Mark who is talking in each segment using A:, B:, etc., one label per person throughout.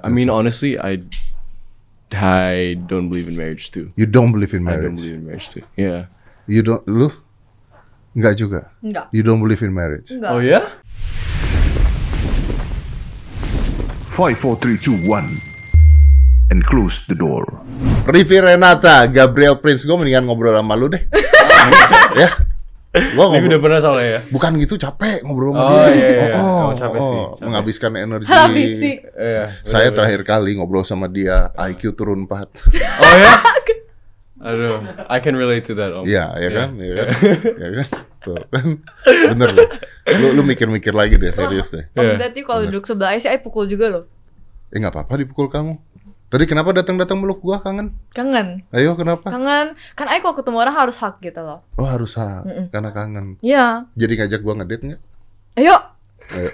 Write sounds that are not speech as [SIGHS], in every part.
A: I mean, honestly, I I don't believe in marriage too.
B: You don't believe in
A: I
B: marriage.
A: don't believe in marriage too. Yeah.
B: You don't lu? Enggak juga.
C: Enggak.
B: You don't believe in marriage.
C: Enggak.
A: Oh, yeah?
D: Five, four, three, two, one, and close the door.
B: Rivi Renata, Gabriel Prince, gue mendingan ngobrol sama lu
A: [LAUGHS]
B: deh. ya. Gua
A: Tapi udah
B: ngobrol,
A: pernah salah ya.
B: bukan gitu capek ngobrol sama
A: Oh,
B: dia.
A: iya, iya.
B: Oh,
A: Emang capek sih,
B: oh,
A: capek.
B: menghabiskan energi.
C: [LAUGHS] Habis sih.
A: Iya.
B: Saya terakhir kali ngobrol sama dia, IQ turun 4.
A: Oh
C: [LAUGHS]
A: ya? Aduh, I can relate to that. Om.
B: Iya, ya kan? Iya kan? Iya kan? Tuh kan. Bener loh. Lu lu mikir-mikir lagi deh, serius deh.
C: Om
A: Iya.
C: Dad nih Oh, kalau duduk sebelah saya pukul juga loh.
B: Eh nggak apa-apa dipukul kamu. Tadi kenapa datang-datang meluk gua kangen?
C: Kangen.
B: Ayo kenapa?
C: Kangen. Kan Aik kalau ketemu orang harus hak gitu loh.
B: Oh harus ha,
C: Mm-mm.
B: karena kangen.
C: Iya.
B: Jadi ngajak gua ngedate nggak?
C: Ayo.
B: Ayo.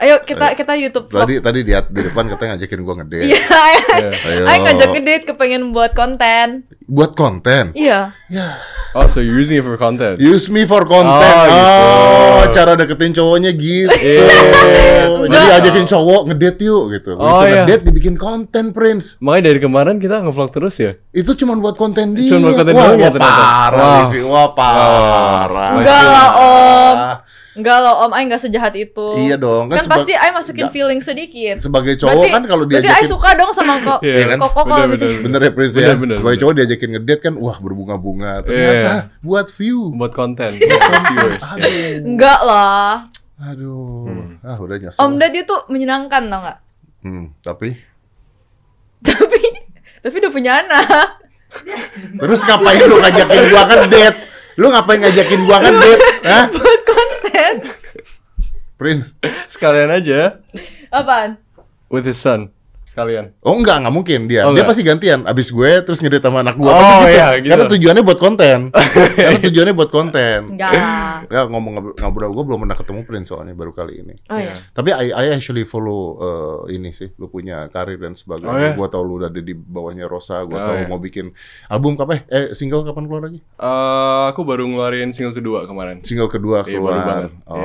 C: Ayo kita kita YouTube vlog.
B: Tadi ya? tadi di, di depan katanya ngajakin gua ngedate. [LAUGHS]
C: Iya. Aik-
B: Ayo.
C: [LAUGHS] Aik ngajak ngedate kepengen buat konten.
B: Buat konten.
C: Iya.
B: Ya.
A: Oh, so you're using it for content?
B: Use me for content.
A: Oh,
B: Oh,
A: gitu.
B: cara deketin cowoknya gitu.
A: Iya.
B: Jadi ajakin cowok ngedate yuk gitu.
A: Oh,
B: Itu
A: iya.
B: ngedate dibikin konten, Prince.
A: Makanya dari kemarin kita ngevlog terus ya.
B: Itu cuma buat konten dia.
A: Cuman buat konten
B: wah,
A: doang ya
B: wah,
A: ternyata.
B: parah,
A: Wah.
B: Livi. Wah, parah.
C: Enggak lah, Om.
B: Ah,
C: Enggak loh Om Aik nggak sejahat itu.
B: Iya dong, kan
C: Kan,
B: sebab-
C: pasti Aik masukin
B: Enggak.
C: feeling sedikit.
B: Sebagai cowok
C: Berarti-
B: kan kalau
C: berarti Aik
B: diajakin
C: suka dong
B: [LAUGHS]
C: sama kok.
A: Iya
B: kan?
C: Kok kok
A: Bener,
C: kalau bisa.
A: bener.
B: bener ya Prince
A: Bener,
B: ya.
A: bener,
B: Sebagai
A: bener.
B: cowok diajakin ngedate kan wah berbunga-bunga. Ternyata
A: Iya.
B: buat view.
A: Buat
C: [LAUGHS]
A: konten. buat viewers. ya.
B: Aduh.
C: Enggak lah.
B: Aduh.
A: Hmm.
B: Ah, udah nyesel.
C: Om Dad itu menyenangkan tau nggak? [LAUGHS]
B: Hmm, tapi
C: Tapi tapi udah punya anak.
B: terus ngapain lu ngajakin gua ngedate? Lu ngapain ngajakin gua ngedate? Hah?
C: [LAUGHS] Buat konten.
B: Prince.
A: Sekalian aja
C: Apaan?
A: with his son. Sekalian.
B: Oh enggak, enggak mungkin dia.
A: Oh,
B: dia
A: enggak.
B: pasti gantian. Abis gue terus ngedate sama anak Kan gue.
A: Oh,
B: Pasti
A: iya, gitu.
B: Karena tujuannya buat
A: [LAUGHS]
B: konten. Karena tujuannya buat konten.
C: Enggak lah.
B: Ya ngomong ngobrol gue belum pernah ketemu Prince soalnya baru kali ini.
C: Oh iya.
B: Tapi I, I actually follow uh, ini sih, lu punya karir dan sebagainya.
A: Oh, iya?
B: Gua tau lu udah ada di bawahnya Rosa,
A: Oh,
B: gua tau
A: iya.
B: mau bikin album kapan? Eh single kapan keluar lagi?
A: Eh, aku baru ngeluarin single kedua kemarin.
B: Single kedua
A: Iya, baru
B: keluar.
A: banget.
B: oh,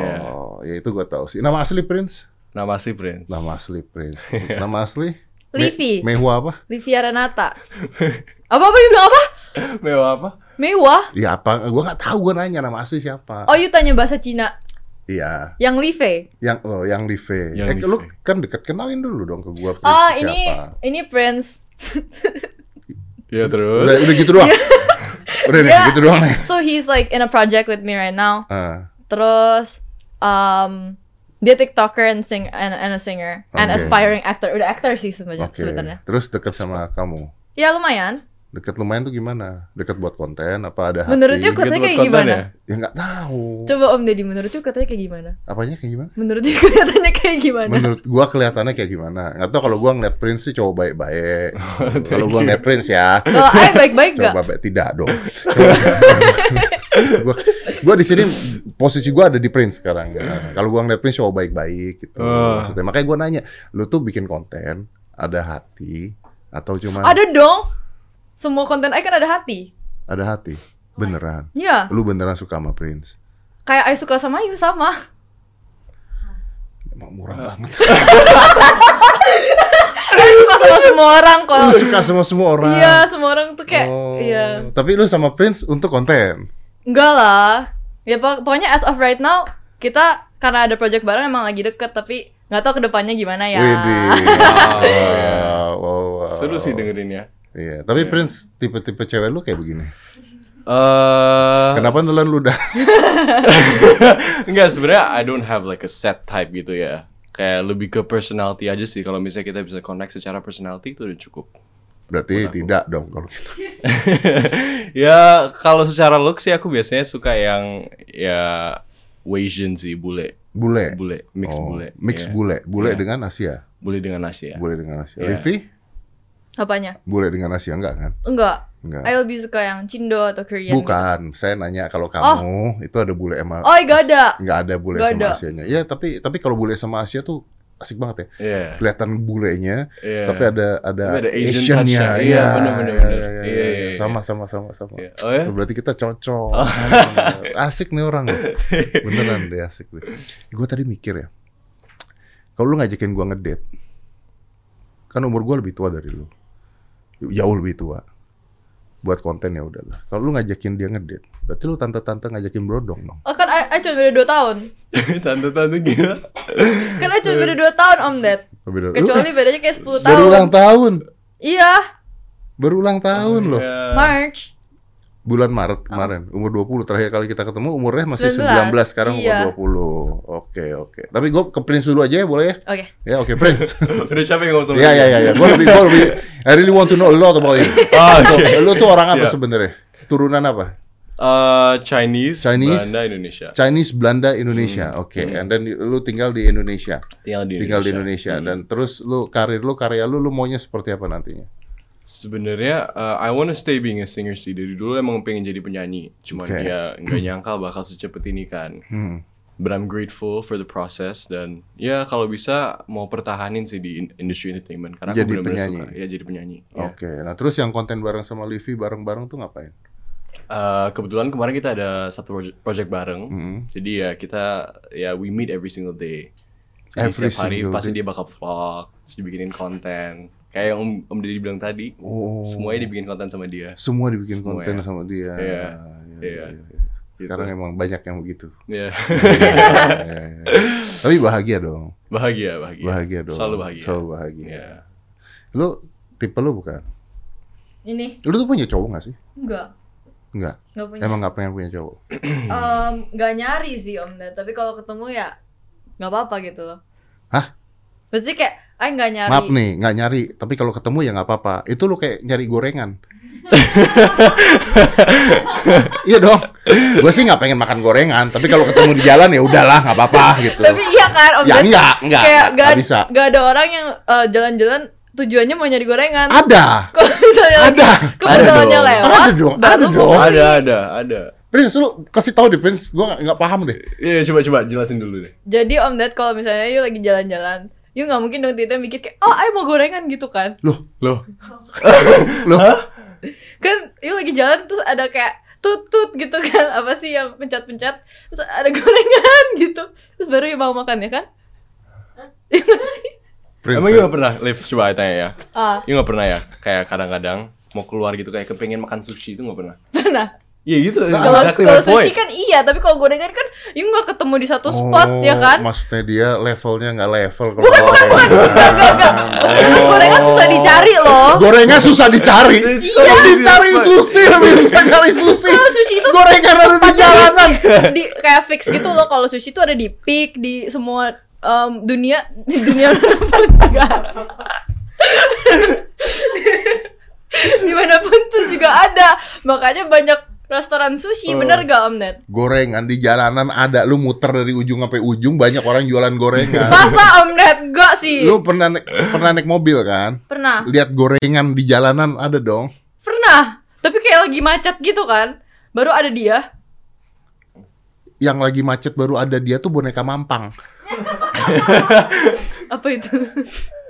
A: Iya.
B: ya itu gua tau sih. Nama asli Prince?
A: Nama asli Nah, Prince.
B: Nama asli
A: [LAUGHS]
B: Prince.
A: Iya.
B: Nama asli?
C: Livi.
B: Me- Mehua apa?
C: Livia Renata. Apa apa dia bilang apa?
A: Mewah apa?
C: Mewah.
B: Ya apa? Gua nggak tahu. Gua nanya nama asli siapa.
C: Oh, you tanya bahasa Cina.
B: Iya,
C: Yang Live.
B: yang oh, yang Live.
A: Yang
B: Eh,
A: Live.
B: lu kan deket kenalin dulu dong ke gua Prince
C: Oh,
B: siapa.
C: ini ini Prince.
A: Ya terus.
B: Udah, udah gitu
C: [LAUGHS]
B: doang. udah nih,
C: Iya.
B: gitu doang nih.
C: So he's like in a project with me right now.
B: Ah,
C: Terus um dia TikToker and sing and, and a singer and
B: Oke.
C: aspiring actor. Udah actor sih sebenarnya
B: Oke.
C: sebenarnya.
B: Terus dekat sama kamu.
C: Ya lumayan.
B: Dekat lumayan tuh gimana? Dekat buat konten apa ada hati?
C: Menurut you
A: Gitu
C: katanya
A: buat
C: kayak
A: konten
C: gimana?
A: ya?
B: Ya nggak tahu.
C: Coba Om Deddy menurut you katanya kayak gimana?
B: Apanya kayak gimana?
C: Menurut you [LAUGHS] katanya kayak gimana?
B: Menurut gua kelihatannya kayak gimana? Nggak tahu kalau gua ngeliat Prince sih cowok baik-baik. kalau gua ngeliat Prince ya.
C: Kalau Aik Oh, baik-baik
B: Cowok
C: gak?
B: baik tidak dong. gua, gua di sini posisi gua ada di Prince sekarang. Ya. Kalau gua ngeliat Prince cowok baik-baik gitu.
A: Ah.
B: Maksudnya makanya gua nanya, lu tuh bikin konten ada hati atau cuma ada,
C: Ada dong. Semua konten Aik kan ada hati.
B: hati? Beneran.
C: Iya.
B: Lu beneran suka sama Prince?
C: Kayak Aik suka sama Ayu sama.
B: Emang murah banget.
C: Aik suka sama semua orang kok.
B: Lu suka sama Iya, semua orang.
C: Iya, semua orang tuh kayak
B: Oh.
C: iya.
B: Tapi lu sama Prince untuk konten.
C: Enggak lah. Ya pok- pokoknya as of right now kita karena ada project bareng emang lagi deket tapi nggak tahu kedepannya gimana ya.
B: Widih.
A: Wow.
C: Iya.
B: Wow, wow, wow.
A: Seru sih dengerinnya.
B: Iya, tapi Prince tipe-tipe cewek lu kayak begini.
A: Eh,
B: Kenapa nelan lu
A: [LAUGHS]
B: dah?
A: Enggak sebenarnya I don't have like a set type gitu ya. Kayak lebih ke personality aja sih. Kalau misalnya kita bisa connect secara personality itu udah cukup. [LAUGHS]
B: Berarti tidak dong kalau gitu.
A: ya kalau secara look sih aku biasanya suka yang ya Asian sih bule,
B: Bule.
A: bule, mix
B: Oh,
A: bule,
B: Mix
A: Ya,
B: bule. Bule
A: Iya.
B: dengan Asia.
A: bule dengan Asia.
B: Bule dengan Asia.
A: Iya.
B: Livi?
C: Apanya?
B: Bule dengan Asia enggak kan?
C: Enggak.
B: Enggak.
C: I lebih suka yang Cindo atau Korean.
B: Bukan. Saya nanya kalau kamu itu ada bule sama
C: Oh, enggak ada.
B: enggak ada bule
C: Nggak
B: sama
C: ada.
B: Asianya. Iya, tapi tapi kalau bule sama Asia tuh asik banget ya.
A: Iya.
B: Kelihatan bulenya,
A: Iya.
B: tapi ada ada,
A: Tapi ada Asian
B: Asian-nya.
A: touch-nya.
B: Iya,
A: Iya, bener, bener,
B: iya,
A: bener.
B: iya,
A: Iya,
B: iya.
A: iya,
B: Sama sama sama sama.
A: Iya. Oh ya?
B: Berarti kita cocok. asik nih orang. loh. Beneran deh asik deh. Gue tadi mikir ya. Kalau lu ngajakin gua ngedate, kan umur gue lebih tua dari lu jauh lebih tua buat konten ya udahlah kalau lu ngajakin dia ngedate berarti lu tante-tante ngajakin brodong dong
C: Oh kan I, I cuma beda 2 tahun
A: [LAUGHS] Tante-tante gitu. gila.
C: Kan I cuma beda 2 tahun om Ded
B: Beda- lu
C: Kecuali bedanya kayak 10
B: baru
C: tahun
B: ulang tahun
C: Iya
B: baru ulang tahun loh
A: Iya.
C: March
B: bulan Maret kemarin umur 20 terakhir kali kita ketemu umurnya masih 19,
C: 19,
B: sekarang
C: iya.
B: umur 20 oke oke tapi gue ke Prince dulu aja ya boleh ya
C: Oke
B: ya oke
A: [LAUGHS]
B: Prince
A: [LAUGHS] Udah capek ngomong sama
B: ya ya ya ya gue lebih gue lebih I really want to know a lot about you
A: [LAUGHS] Ah,
B: So,
A: oke.
B: lu tuh orang apa
A: Siap.
B: sebenarnya turunan apa
A: Eh, Chinese,
B: Chinese.
A: Belanda, Indonesia.
B: Chinese Belanda Indonesia oke and then lu tinggal di Indonesia
A: Tinggal Hmm. di
B: tinggal di
A: Indonesia. Hmm.
B: Indonesia dan terus lu karir lu karya lu lu maunya seperti apa nantinya
A: Sebenarnya uh, I wanna stay being a singer sih. Dari dulu emang pengen jadi penyanyi. Cuman
B: Oke.
A: dia nggak nyangka bakal secepat ini kan.
B: Hmm.
A: But I'm grateful for the process dan ya kalau bisa mau pertahanin sih di in- industry entertainment karena
B: Jadi
A: aku benar-benar
B: penyanyi.
A: suka ya jadi penyanyi. ya.
B: oke nah terus yang konten bareng sama Livi bareng-bareng tuh ngapain
A: Eh, kebetulan kemarin kita ada satu proje- project bareng.
B: Mm.
A: Jadi ya kita ya we meet every single day. Jadi
B: Every
A: setiap hari
B: single
A: pasti
B: day.
A: dia bakal vlog, terus dibikinin konten. Kayak yang Om Om Deddy bilang tadi,
B: Oh.
A: semuanya dibikin konten sama dia.
B: semua dibikin
A: Semua
B: konten
A: ya.
B: sama dia
A: Iya.
B: Ya,
A: Iya.
B: ya, ya. sekarang emang banyak yang
A: [LAUGHS]
B: begitu
A: Ya.
B: Ya, ya, ya. tapi bahagia dong
A: bahagia, bahagia.
B: bahagia
A: Iya,
B: dong
A: Selalu bahagia.
B: selalu bahagia
A: Ya.
B: lu tipe lu bukan
C: Ini
B: lu tuh punya cowok gak sih
C: Enggak
B: Enggak,
C: Enggak punya
B: emang gak pengen punya cowok
C: Em, Nggak nyari sih om Ded Tapi kalau ketemu ya Nggak apa-apa gitu loh
B: Hah?
C: Maksudnya kayak I nggak nyari
B: Maaf nih, nggak nyari. Tapi kalau ketemu ya nggak apa-apa. Itu lu kayak
A: [LAUGHS]
B: nyari gorengan. iya dong. Gue sih nggak pengen makan gorengan. Tapi kalau ketemu di jalan ya udahlah, nggak apa-apa gitu.
C: Tapi iya kan om
B: ya
C: Ded
B: enggak, enggak,
C: Kayak
B: enggak,
C: nggak
B: bisa.
C: nggak ada orang yang eh, jalan-jalan Tujuannya mau nyari gorengan [LAUGHS]
B: Ada.
C: Kalau misalnya lagi
B: Ada.
C: kebetulannya
A: Ada
C: lewat
B: Ada dong,
C: baru
B: ada
C: mau
B: dong.
C: beli.
A: Ada, ada, ada.
B: Prince, lu kasih tahu deh Prince. Gue nggak nggak paham deh.
A: Iya, coba coba jelasin dulu deh.
C: Jadi Om Ded kalau misalnya you lagi jalan-jalan, you nggak mungkin dong tiba mikir kayak, oh ayo mau gorengan gitu kan?
B: Loh,
A: Loh,
B: loh.
C: Kan you lagi jalan terus ada kayak tutut gitu kan? Apa sih yang pencet-pencet? Terus ada gorengan [LAUGHS] gitu, terus baru you mau makan ya kan? Iya nggak sih?
B: Prince, eh.
A: emang iya, gak pernah live coba tanya ya.
C: Ah,
A: Iya gak pernah ya? Kayak kadang-kadang mau keluar gitu kayak kepengen makan sushi itu gak pernah.
C: pernah.
A: Iya gitu.
C: Kalau
A: exactly my
C: kalau sushi
A: point.
C: kan iya, tapi kalau gorengan kan you nggak ketemu di satu spot ya kan?
B: Oh, Maksudnya dia levelnya nggak level kalau
C: Bukan bukan bukan. Enggak enggak enggak. Maksudnya gorengan susah dicari loh.
B: Gorengan susah dicari.
A: Iya.
B: Kalau dicari sushi lebih susah cari sushi.
C: Kalau sushi itu
B: [LAUGHS] gorengan ada di
C: tempatnya
B: jalanan.
C: di- di- kayak fix gitu loh kalau sushi itu ada di peak di semua em, dunia [LAUGHS] di dunia [LAUGHS] dimanapun tuh juga ada makanya banyak restoran sushi bener gak om Ned?
B: Gorengan di jalanan ada lu muter dari ujung sampai ujung banyak orang jualan gorengan.
C: masa om Ned gak sih
B: lu pernah naik, pernah naik mobil kan?
C: pernah
B: Lihat gorengan di jalanan ada dong.
C: pernah tapi kayak lagi macet gitu kan baru ada dia
B: Yang lagi macet baru ada dia tuh boneka mampang.
C: apa itu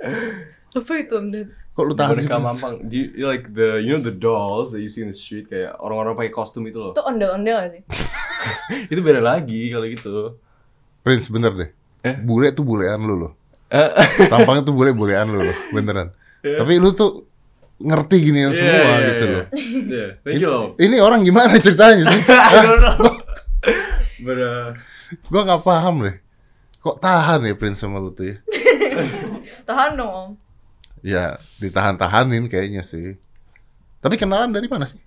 C: [LAUGHS] apa itu om Ned?
B: Kok lu tahu? sih?
A: Boneka mampang. Do you- you like the you know the dolls that you see in the street kayak orang-orang pakai kostum itu loh.
C: itu ondel-ondel gak sih?
A: Itu beda lagi kalau gitu.
B: Prince bener deh.
A: Eh?
B: Bule tuh bulean lu loh.
A: Eh,
B: Tampangnya tuh bule-bulean lu loh, beneran. Tapi lu tuh ngerti gini
A: iya, [LAUGHS]
B: semua
A: iya,
B: gitu
A: iya.
B: loh.
A: Iya, thank you loh.
B: Ini orang gimana ceritanya sih?
A: [LAUGHS] I don't know. But uh,
B: Gua nggak paham deh. Kok tahan ya Prince sama lu tuh ya?
C: tahan dong om
B: Ya ditahan-tahanin kayaknya sih. Tapi kenalan dari mana sih?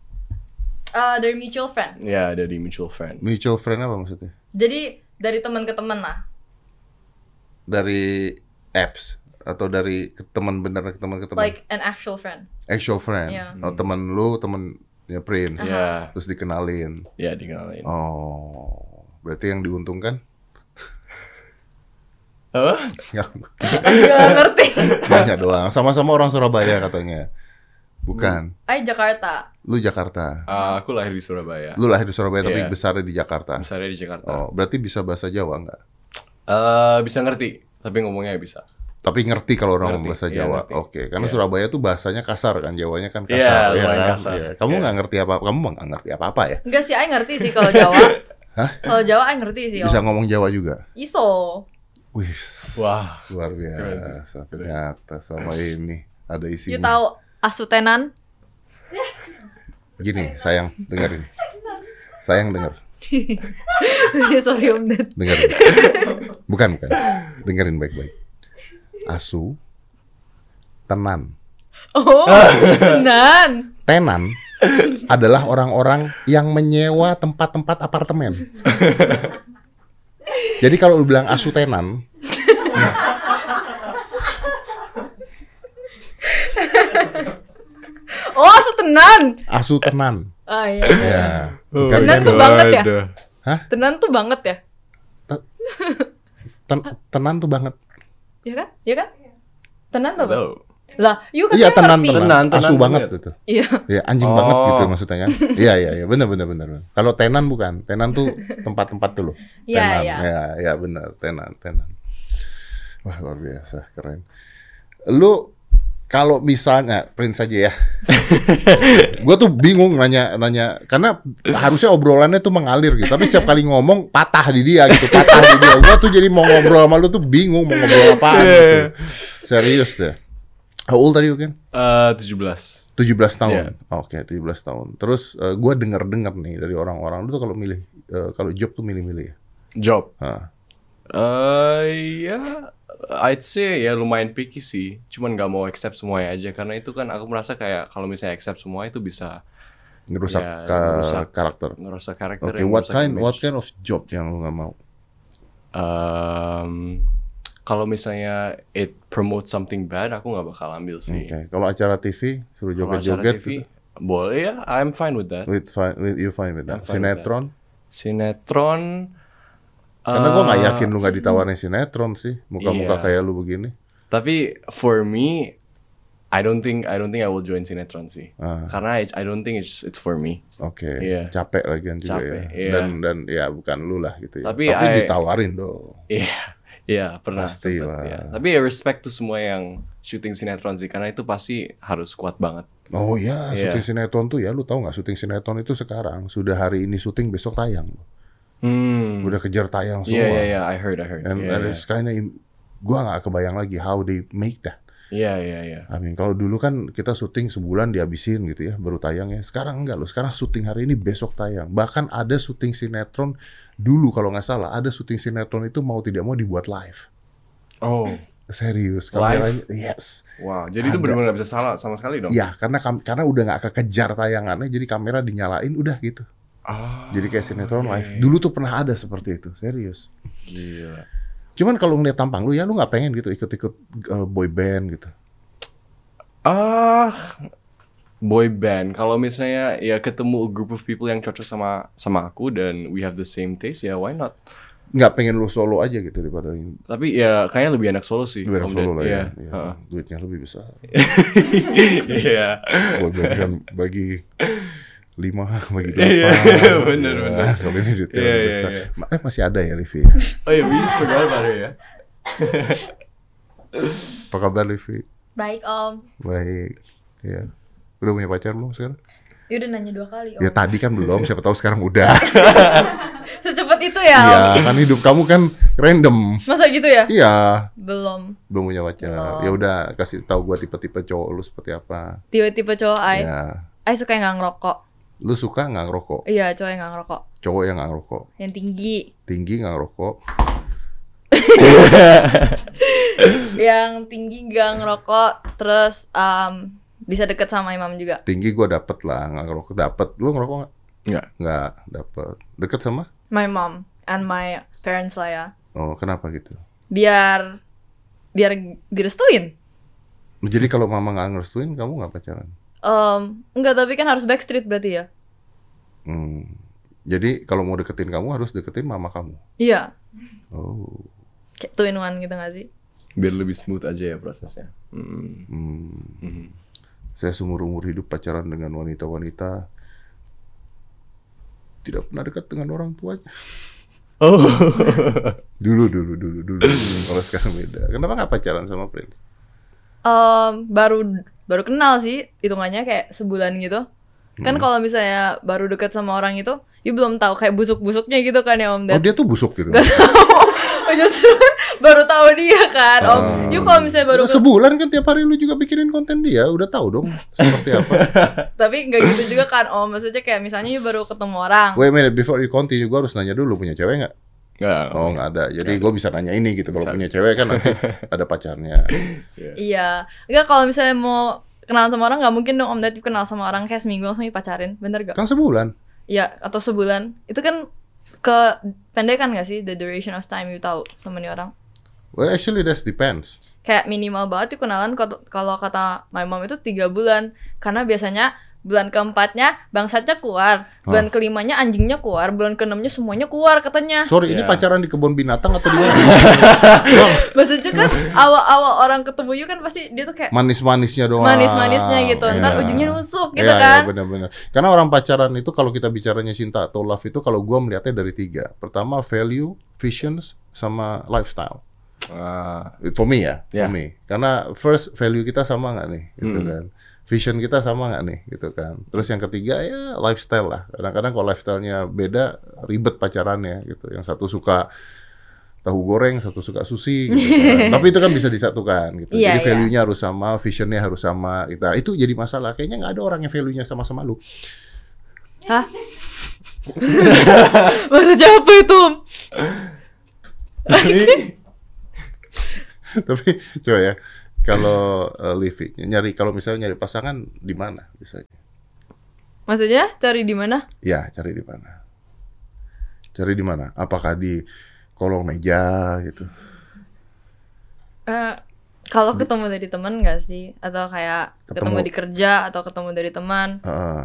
C: Eh, dari mutual friend
A: ya ada di mutual friend.
B: Mutual friend apa maksudnya?
C: Jadi dari teman ke teman lah.
B: Dari apps atau dari ke- teman bener ke teman ke teman?
C: Like an actual friend.
B: Actual friend.
C: Iya. Ah.
B: Oh, teman lu, temennya Prince.
A: Ya,
B: Terus dikenalin.
A: ya dikenalin.
B: Oh, berarti yang diuntungkan? [LAUGHS]
A: Apa?
B: Nggak.
C: Gak ngerti. [LAUGHS]
B: Banyak doang. Sama-sama orang Surabaya katanya. Bukan.
C: Ay Jakarta.
B: Lu Jakarta.
A: Ah, aku lahir di Surabaya.
B: Lu lahir di Surabaya tapi
A: Iya.
B: besarnya di Jakarta.
A: Besarnya di Jakarta. Eh
B: Oh, berarti bisa bahasa Jawa nggak?
A: bisa ngerti, tapi ngomongnya bisa.
B: Tapi ngerti kalau
A: Ngerti,
B: orang ngomong bahasa
A: iya,
B: Jawa.
A: ngerti.
B: Oke, karena
A: Iya.
B: Surabaya tuh bahasanya kasar kan, Jawanya kan
A: Iya,
B: kasar ya
A: lumayan
B: kan?
A: kasar.
B: Iya. Kamu
A: Iya.
B: nggak ngerti apa, kamu nggak ngerti apa-apa ya?
C: Enggak sih, Ay ngerti sih kalau Jawa.
B: Hah?
C: Kalau Jawa Ay ngerti sih.
B: Bisa
C: Om.
B: ngomong Jawa juga.
C: Iso.
B: Wis.
A: Wah.
B: Luar biasa. Ternyata sama ini ada
C: You
B: isinya.
C: tahu [LAUGHS] asutenan?
B: Gini, sayang dengerin. Sayang denger,
C: Ya, Sorry Om Ded.
B: dengerin. Bukan, bukan. Dengerin baik-baik. Asu tenan. [LAUGHS]
C: Oh,
B: Ah.
C: tenan.
B: Tenan adalah orang-orang yang menyewa tempat-tempat apartemen. Jadi kalau lu bilang asu tenan,
C: Oh, asutenan.
B: asu tenan.
C: Ah iya.
B: Ya.
A: Oh,
B: bukan
A: iya,
C: Tenan tuh
B: tenan.
C: banget ya?
A: Waduh.
C: Tenan tuh banget ya?
B: Ten- tenan tuh banget.
C: Ya kan? Ya kan? Tenan tuh.
A: Tahu.
C: Lah, you kan
B: Iya tenan
C: ngerti.
B: tenan,
A: Tenan, tenan
B: asu banget
A: banget.
B: gitu.
C: Iya.
B: Iya anjing
A: Oh.
B: banget gitu maksudnya kan. Iya iya iya benar benar benar. Kalau tenan bukan, tenan tuh tempat-tempat tuh loh.
C: Iya,
B: Tenan.
C: iya.
B: Ya ya benar, tenan tenan. Wah luar biasa keren. Lu kalau misalnya print saja ya,
C: [LAUGHS]
B: gue tuh bingung nanya nanya karena harusnya obrolannya tuh mengalir gitu, tapi setiap kali ngomong patah di dia gitu, patah di dia. Gue tuh jadi mau ngobrol sama lu tuh bingung mau ngobrol apa gitu. Serius deh. How old are you again?
A: Eh, 17.
B: 17 tahun.
A: Iya.
B: Oh, Oke, 17 tahun. Terus eh, gua denger-denger nih dari orang-orang lu tuh kalau milih eh, kalau job tuh milih-milih ya.
A: Job.
B: Hah.
A: Eh ya, I'd say ya lumayan picky sih. Cuman nggak mau accept semuanya aja karena itu kan aku merasa kayak kalau misalnya accept semua itu bisa
B: ngerusak
A: Ya,
B: ka-
A: ngerusak.
B: karakter.
A: ngerusak karakter.
B: Oke,
A: yang
B: what
A: ngerusak
B: kind
A: image.
B: what kind of job yang lu nggak mau?
A: Em, kalau misalnya it promote something bad, aku nggak bakal ambil
B: Oke,
A: sih.
B: kalau acara TV suruh
A: Iya. Kalau acara
B: joget-joget gitu.
A: TV, boleh ya, I'm fine with that.
B: with, fi- with you fine with
A: I'm
B: that.
A: fine with that.
B: Sinetron?
A: Sinetron.
B: Karena gua nggak
A: eh,
B: yakin lu
A: [LAUGHS]
B: nggak ditawarin sinetron sih,
A: Iya.
B: muka-muka kayak lu begini.
A: Tapi for me, I don't think I don't think I will join sinetron sih.
B: Ah.
A: Karena I, I don't think it's it's for me. [LAUGHS]
B: Oke,
A: Iya.
B: capek lagian juga
A: Capek,
B: ya.
A: iya.
B: Dan dan ya bukan lu lah gitu ya.
A: Tapi I-
B: ditawarin dong.
A: Iya, iya pernah.
B: Pasti
A: sempet,
B: lah.
A: iya. Tapi ya respect tuh semua yang syuting sinetron sih, karena itu pasti harus kuat banget.
B: Oh ya,
A: Iya.
B: syuting sinetron tuh ya lu tahu nggak syuting sinetron itu sekarang sudah hari ini syuting besok tayang.
A: Hmm.
B: Udah kejar tayang semua.
A: Iya iya iya, I heard I heard.
B: And
A: Iya
B: that
A: iya.
B: is kinda im- gua nggak kebayang lagi how they make that.
A: iya iya iya.
B: I mean, kalau dulu kan kita syuting sebulan dihabisin gitu ya, baru tayang ya. Sekarang enggak loh, sekarang syuting hari ini besok tayang. Bahkan ada syuting sinetron dulu kalau nggak salah, ada syuting sinetron itu mau tidak mau dibuat live.
A: Oh,
B: Serius,
A: Live?
B: kameranya yes.
A: wow. Jadi itu
B: Ada.
A: benar-benar nggak bisa salah sama sekali dong.
B: Ya, karena kam- karena udah nggak kekejar tayangannya jadi kamera dinyalain udah gitu.
A: Ah,
B: Jadi kayak sinetron
A: oke.
B: live. Dulu tuh pernah ada seperti itu, serius.
A: Gila.
B: Cuman kalau ngeliat tampang lu ya lu nggak pengen gitu ikut-ikut eh, boy band gitu.
A: Ah, boy band. Kalau misalnya ya ketemu a group of people yang cocok sama sama aku dan we have the same taste, ya why not?
B: Nggak pengen lu solo aja gitu daripada yang
A: Tapi ya kayaknya lebih enak solo sih.
B: daripada
A: Om
B: solo
A: Ded.
B: lah
A: Iya,
B: ya. Iya,
A: heeh. [LAUGHS]
B: Duitnya lebih besar.
A: Iya.
B: Boy band kan bagi lima [LAUGHS]
A: Iya,
B: bagi delapan.
A: [LAUGHS] bener,
B: Ya,
A: bener.
B: Kalau ini duitnya
A: Iya,
B: lebih
A: iya,
B: besar.
A: iya.
B: Ma- Eh masih ada ya Livi ya?
A: Oh iya, we forgot about her ya.
B: Apa kabar Livi?
C: Baik Om.
B: Baik. Ya. Udah punya pacar belum sekarang?
C: You udah nanya dua kali Om.
B: Ya tadi kan belum, siapa tahu sekarang udah.
C: Secepat itu ya Om.
B: Iya, kan hidup kamu kan random.
C: Masa gitu ya?
B: Iya,
C: Belum.
B: belum punya pacar.
C: Belum.
B: Ya udah kasih tahu gua tipe-tipe cowok lu seperti apa.
C: Tiba-tiba cowok Ai.
B: Ya.
C: Ai suka yang nggak ngerokok.
B: Lu suka nggak ngerokok?
C: Iya, cowok yang nggak ngerokok.
B: Cowok yang nggak ngerokok,
C: Yang tinggi.
B: tinggi nggak ngerokok.
C: yang tinggi nggak ngerokok. Terus em, bisa deket sama imam juga.
B: Tinggi gua dapet lah, nggak ngerokok dapet. Lu ngerokok nggak?
A: Nggak.
B: Nggak dapet. Deket sama?
C: My mom and my parents lah ya.
B: Oh, kenapa gitu?
C: Biar biar direstuin.
B: Jadi kalau mama nggak ngerestuin, kamu nggak pacaran?
C: Em, enggak, tapi kan harus backstreet berarti ya?
B: Hmm. Jadi kalau mau deketin kamu harus deketin mama kamu.
C: Iya.
B: Oh.
C: Kayak two in one gitu gak sih?
A: Biar lebih smooth aja ya prosesnya. Hmm.
B: Hmm.
A: Mhm.
B: Saya seumur umur hidup pacaran dengan wanita-wanita tidak pernah dekat dengan orang tuanya.
A: Oh.
B: [LAUGHS] Dulu, dulu, dulu, dulu. dulu. Kalau sekarang beda. Kenapa nggak pacaran sama Prince?
C: Em, baru baru kenal sih hitungannya kayak sebulan gitu. Kan kalau misalnya baru [LAUGHS] deket sama orang itu, you belum tahu kayak busuk-busuknya gitu kan ya Om
B: Oh
C: Ded.
B: dia tuh busuk gitu.
C: Gak tahu. justru baru tahu dia kan om
A: Hmm.
C: you kalau misalnya baru
B: Ya, sebulan kan tiap hari lu juga bikinin konten dia, udah tahu dong seperti apa.
C: tapi nggak gitu juga kan om maksudnya kayak misalnya you baru ketemu orang
B: Wait a minute, before you continue, gue harus nanya dulu punya cewek nggak?
A: iya. Nggak.
B: Oh nggak ada, jadi gue bisa nanya ini gitu. Kalau
A: Bisa.
B: punya cewek kan nanti ada pacarnya.
C: iya nggak kalau misalnya mau kenalan sama orang nggak mungkin dong om Dad you kenal sama orang kayak seminggu langsung you pacarin bener gak
B: Kan sebulan.
C: Iya atau sebulan itu kan ke pendekan gak sih the duration of time you tahu temennya orang
B: Well actually that depends.
C: kayak minimal banget tuh kenalan kot- kalau kata my mom itu tiga bulan karena biasanya bulan keempatnya bangsatnya keluar
B: Oh.
C: bulan kelimanya anjingnya keluar bulan keenamnya semuanya keluar katanya [LAUGHS]
B: Sorry,
A: Ya.
B: ini pacaran di kebun binatang atau di mana? Bang,
C: maksudnya
B: [LAUGHS]
C: kan awal-awal orang ketemu you kan pasti dia tuh kayak
B: Manis-manisnya doang.
C: manis-manisnya gitu ntar
B: Iya.
C: ujungnya nusuk gitu
B: Iya, iya,
C: kan
B: benar-benar. Karena orang pacaran itu kalau kita bicaranya cinta atau love itu kalau gua melihatnya dari tiga. Pertama value, visions, sama lifestyle.
A: Ah, [LAUGHS]
B: For me ya,
A: Ya.
B: for me. Karena first value kita sama nggak nih, gitu
A: Hmm.
B: kan. Vision kita sama nggak nih, gitu kan. Terus yang ketiga ya lifestyle lah. Kadang-kadang kalau lifestyle-nya beda, ribet pacarannya gitu. Yang satu suka tahu goreng, satu suka sushi. Gitu kan.
C: [LAUGHS]
B: Tapi itu kan bisa disatukan gitu.
C: Iya,
B: jadi
C: iya.
B: value-nya harus sama, vision-nya harus sama. Gitu. Nah, Itu jadi masalah. Kayaknya nggak ada orang yang value-nya sama-sama lu. [LAUGHS]
C: hah maksudnya apa itu Om?
B: Tapi coba ya, kalau uh, living nyari kalau misalnya nyari pasangan di mana biasanya?
C: maksudnya cari di mana
B: Ya, cari di mana? Cari di mana? Apakah di kolong meja gitu?
C: Eh, kalau ketemu dari teman gak sih? Atau kayak ketemu,
B: Ketemu.
C: di kerja atau ketemu dari teman?
B: Heeh.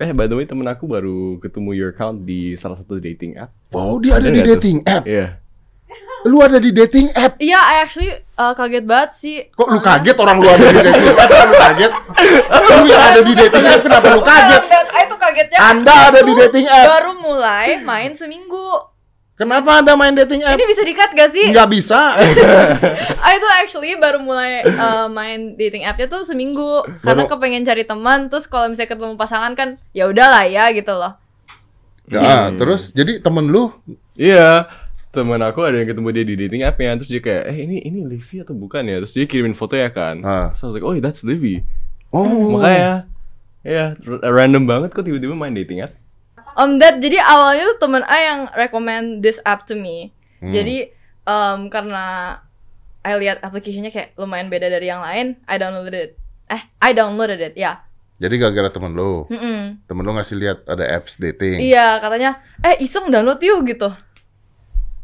A: eh by the way temen aku baru ketemu your account di salah satu dating app.
B: Wow, Oh, dia
A: Ada
B: ada, di
A: nggak tuh?
B: dating app.
A: Iya.
B: Lu ada di dating app.
C: Iya, I actually eh, kaget banget sih.
B: Kok lu
C: Soalnya-
B: kaget orang lu ada di dating app? Kenapa lu kaget? Lu yang ada di dating app kenapa lu kaget?
C: Dan I tuh kagetnya.
B: Anda ada di dating app.
C: Baru mulai main seminggu.
B: Kenapa Anda main dating app?
C: Ini bisa dikat gak sih?
B: Nggak bisa.
C: I tuh actually baru mulai eh, main dating app-nya tuh seminggu karena
B: Baru-
C: kepengen cari teman. Terus kalau misalnya ketemu pasangan kan ya udahlah ya gitu loh.
B: Nah,
A: Hmm.
B: terus jadi temen lu
A: Iya. Temen aku ada yang ketemu dia di dating app-nya terus dia kayak eh ini ini Livy atau bukan ya? Terus dia kirimin foto ya kan.
B: Ah.
A: Terus I was like, "Oh, that's Livy."
B: Oh,
A: Makanya ya random banget kok tiba-tiba main dating app.
C: Om Dad, Um, jadi awalnya tuh temen A yang recommend this app to me.
B: Hmm.
C: Jadi em, karena I lihat application-nya kayak lumayan beda dari yang lain, I downloaded it. Eh, I downloaded it, ya.
B: Jadi gara-gara temen lu,
C: Mm-mm.
B: temen lu ngasih lihat ada apps dating.
C: Iya, katanya, eh iseng download yuk gitu.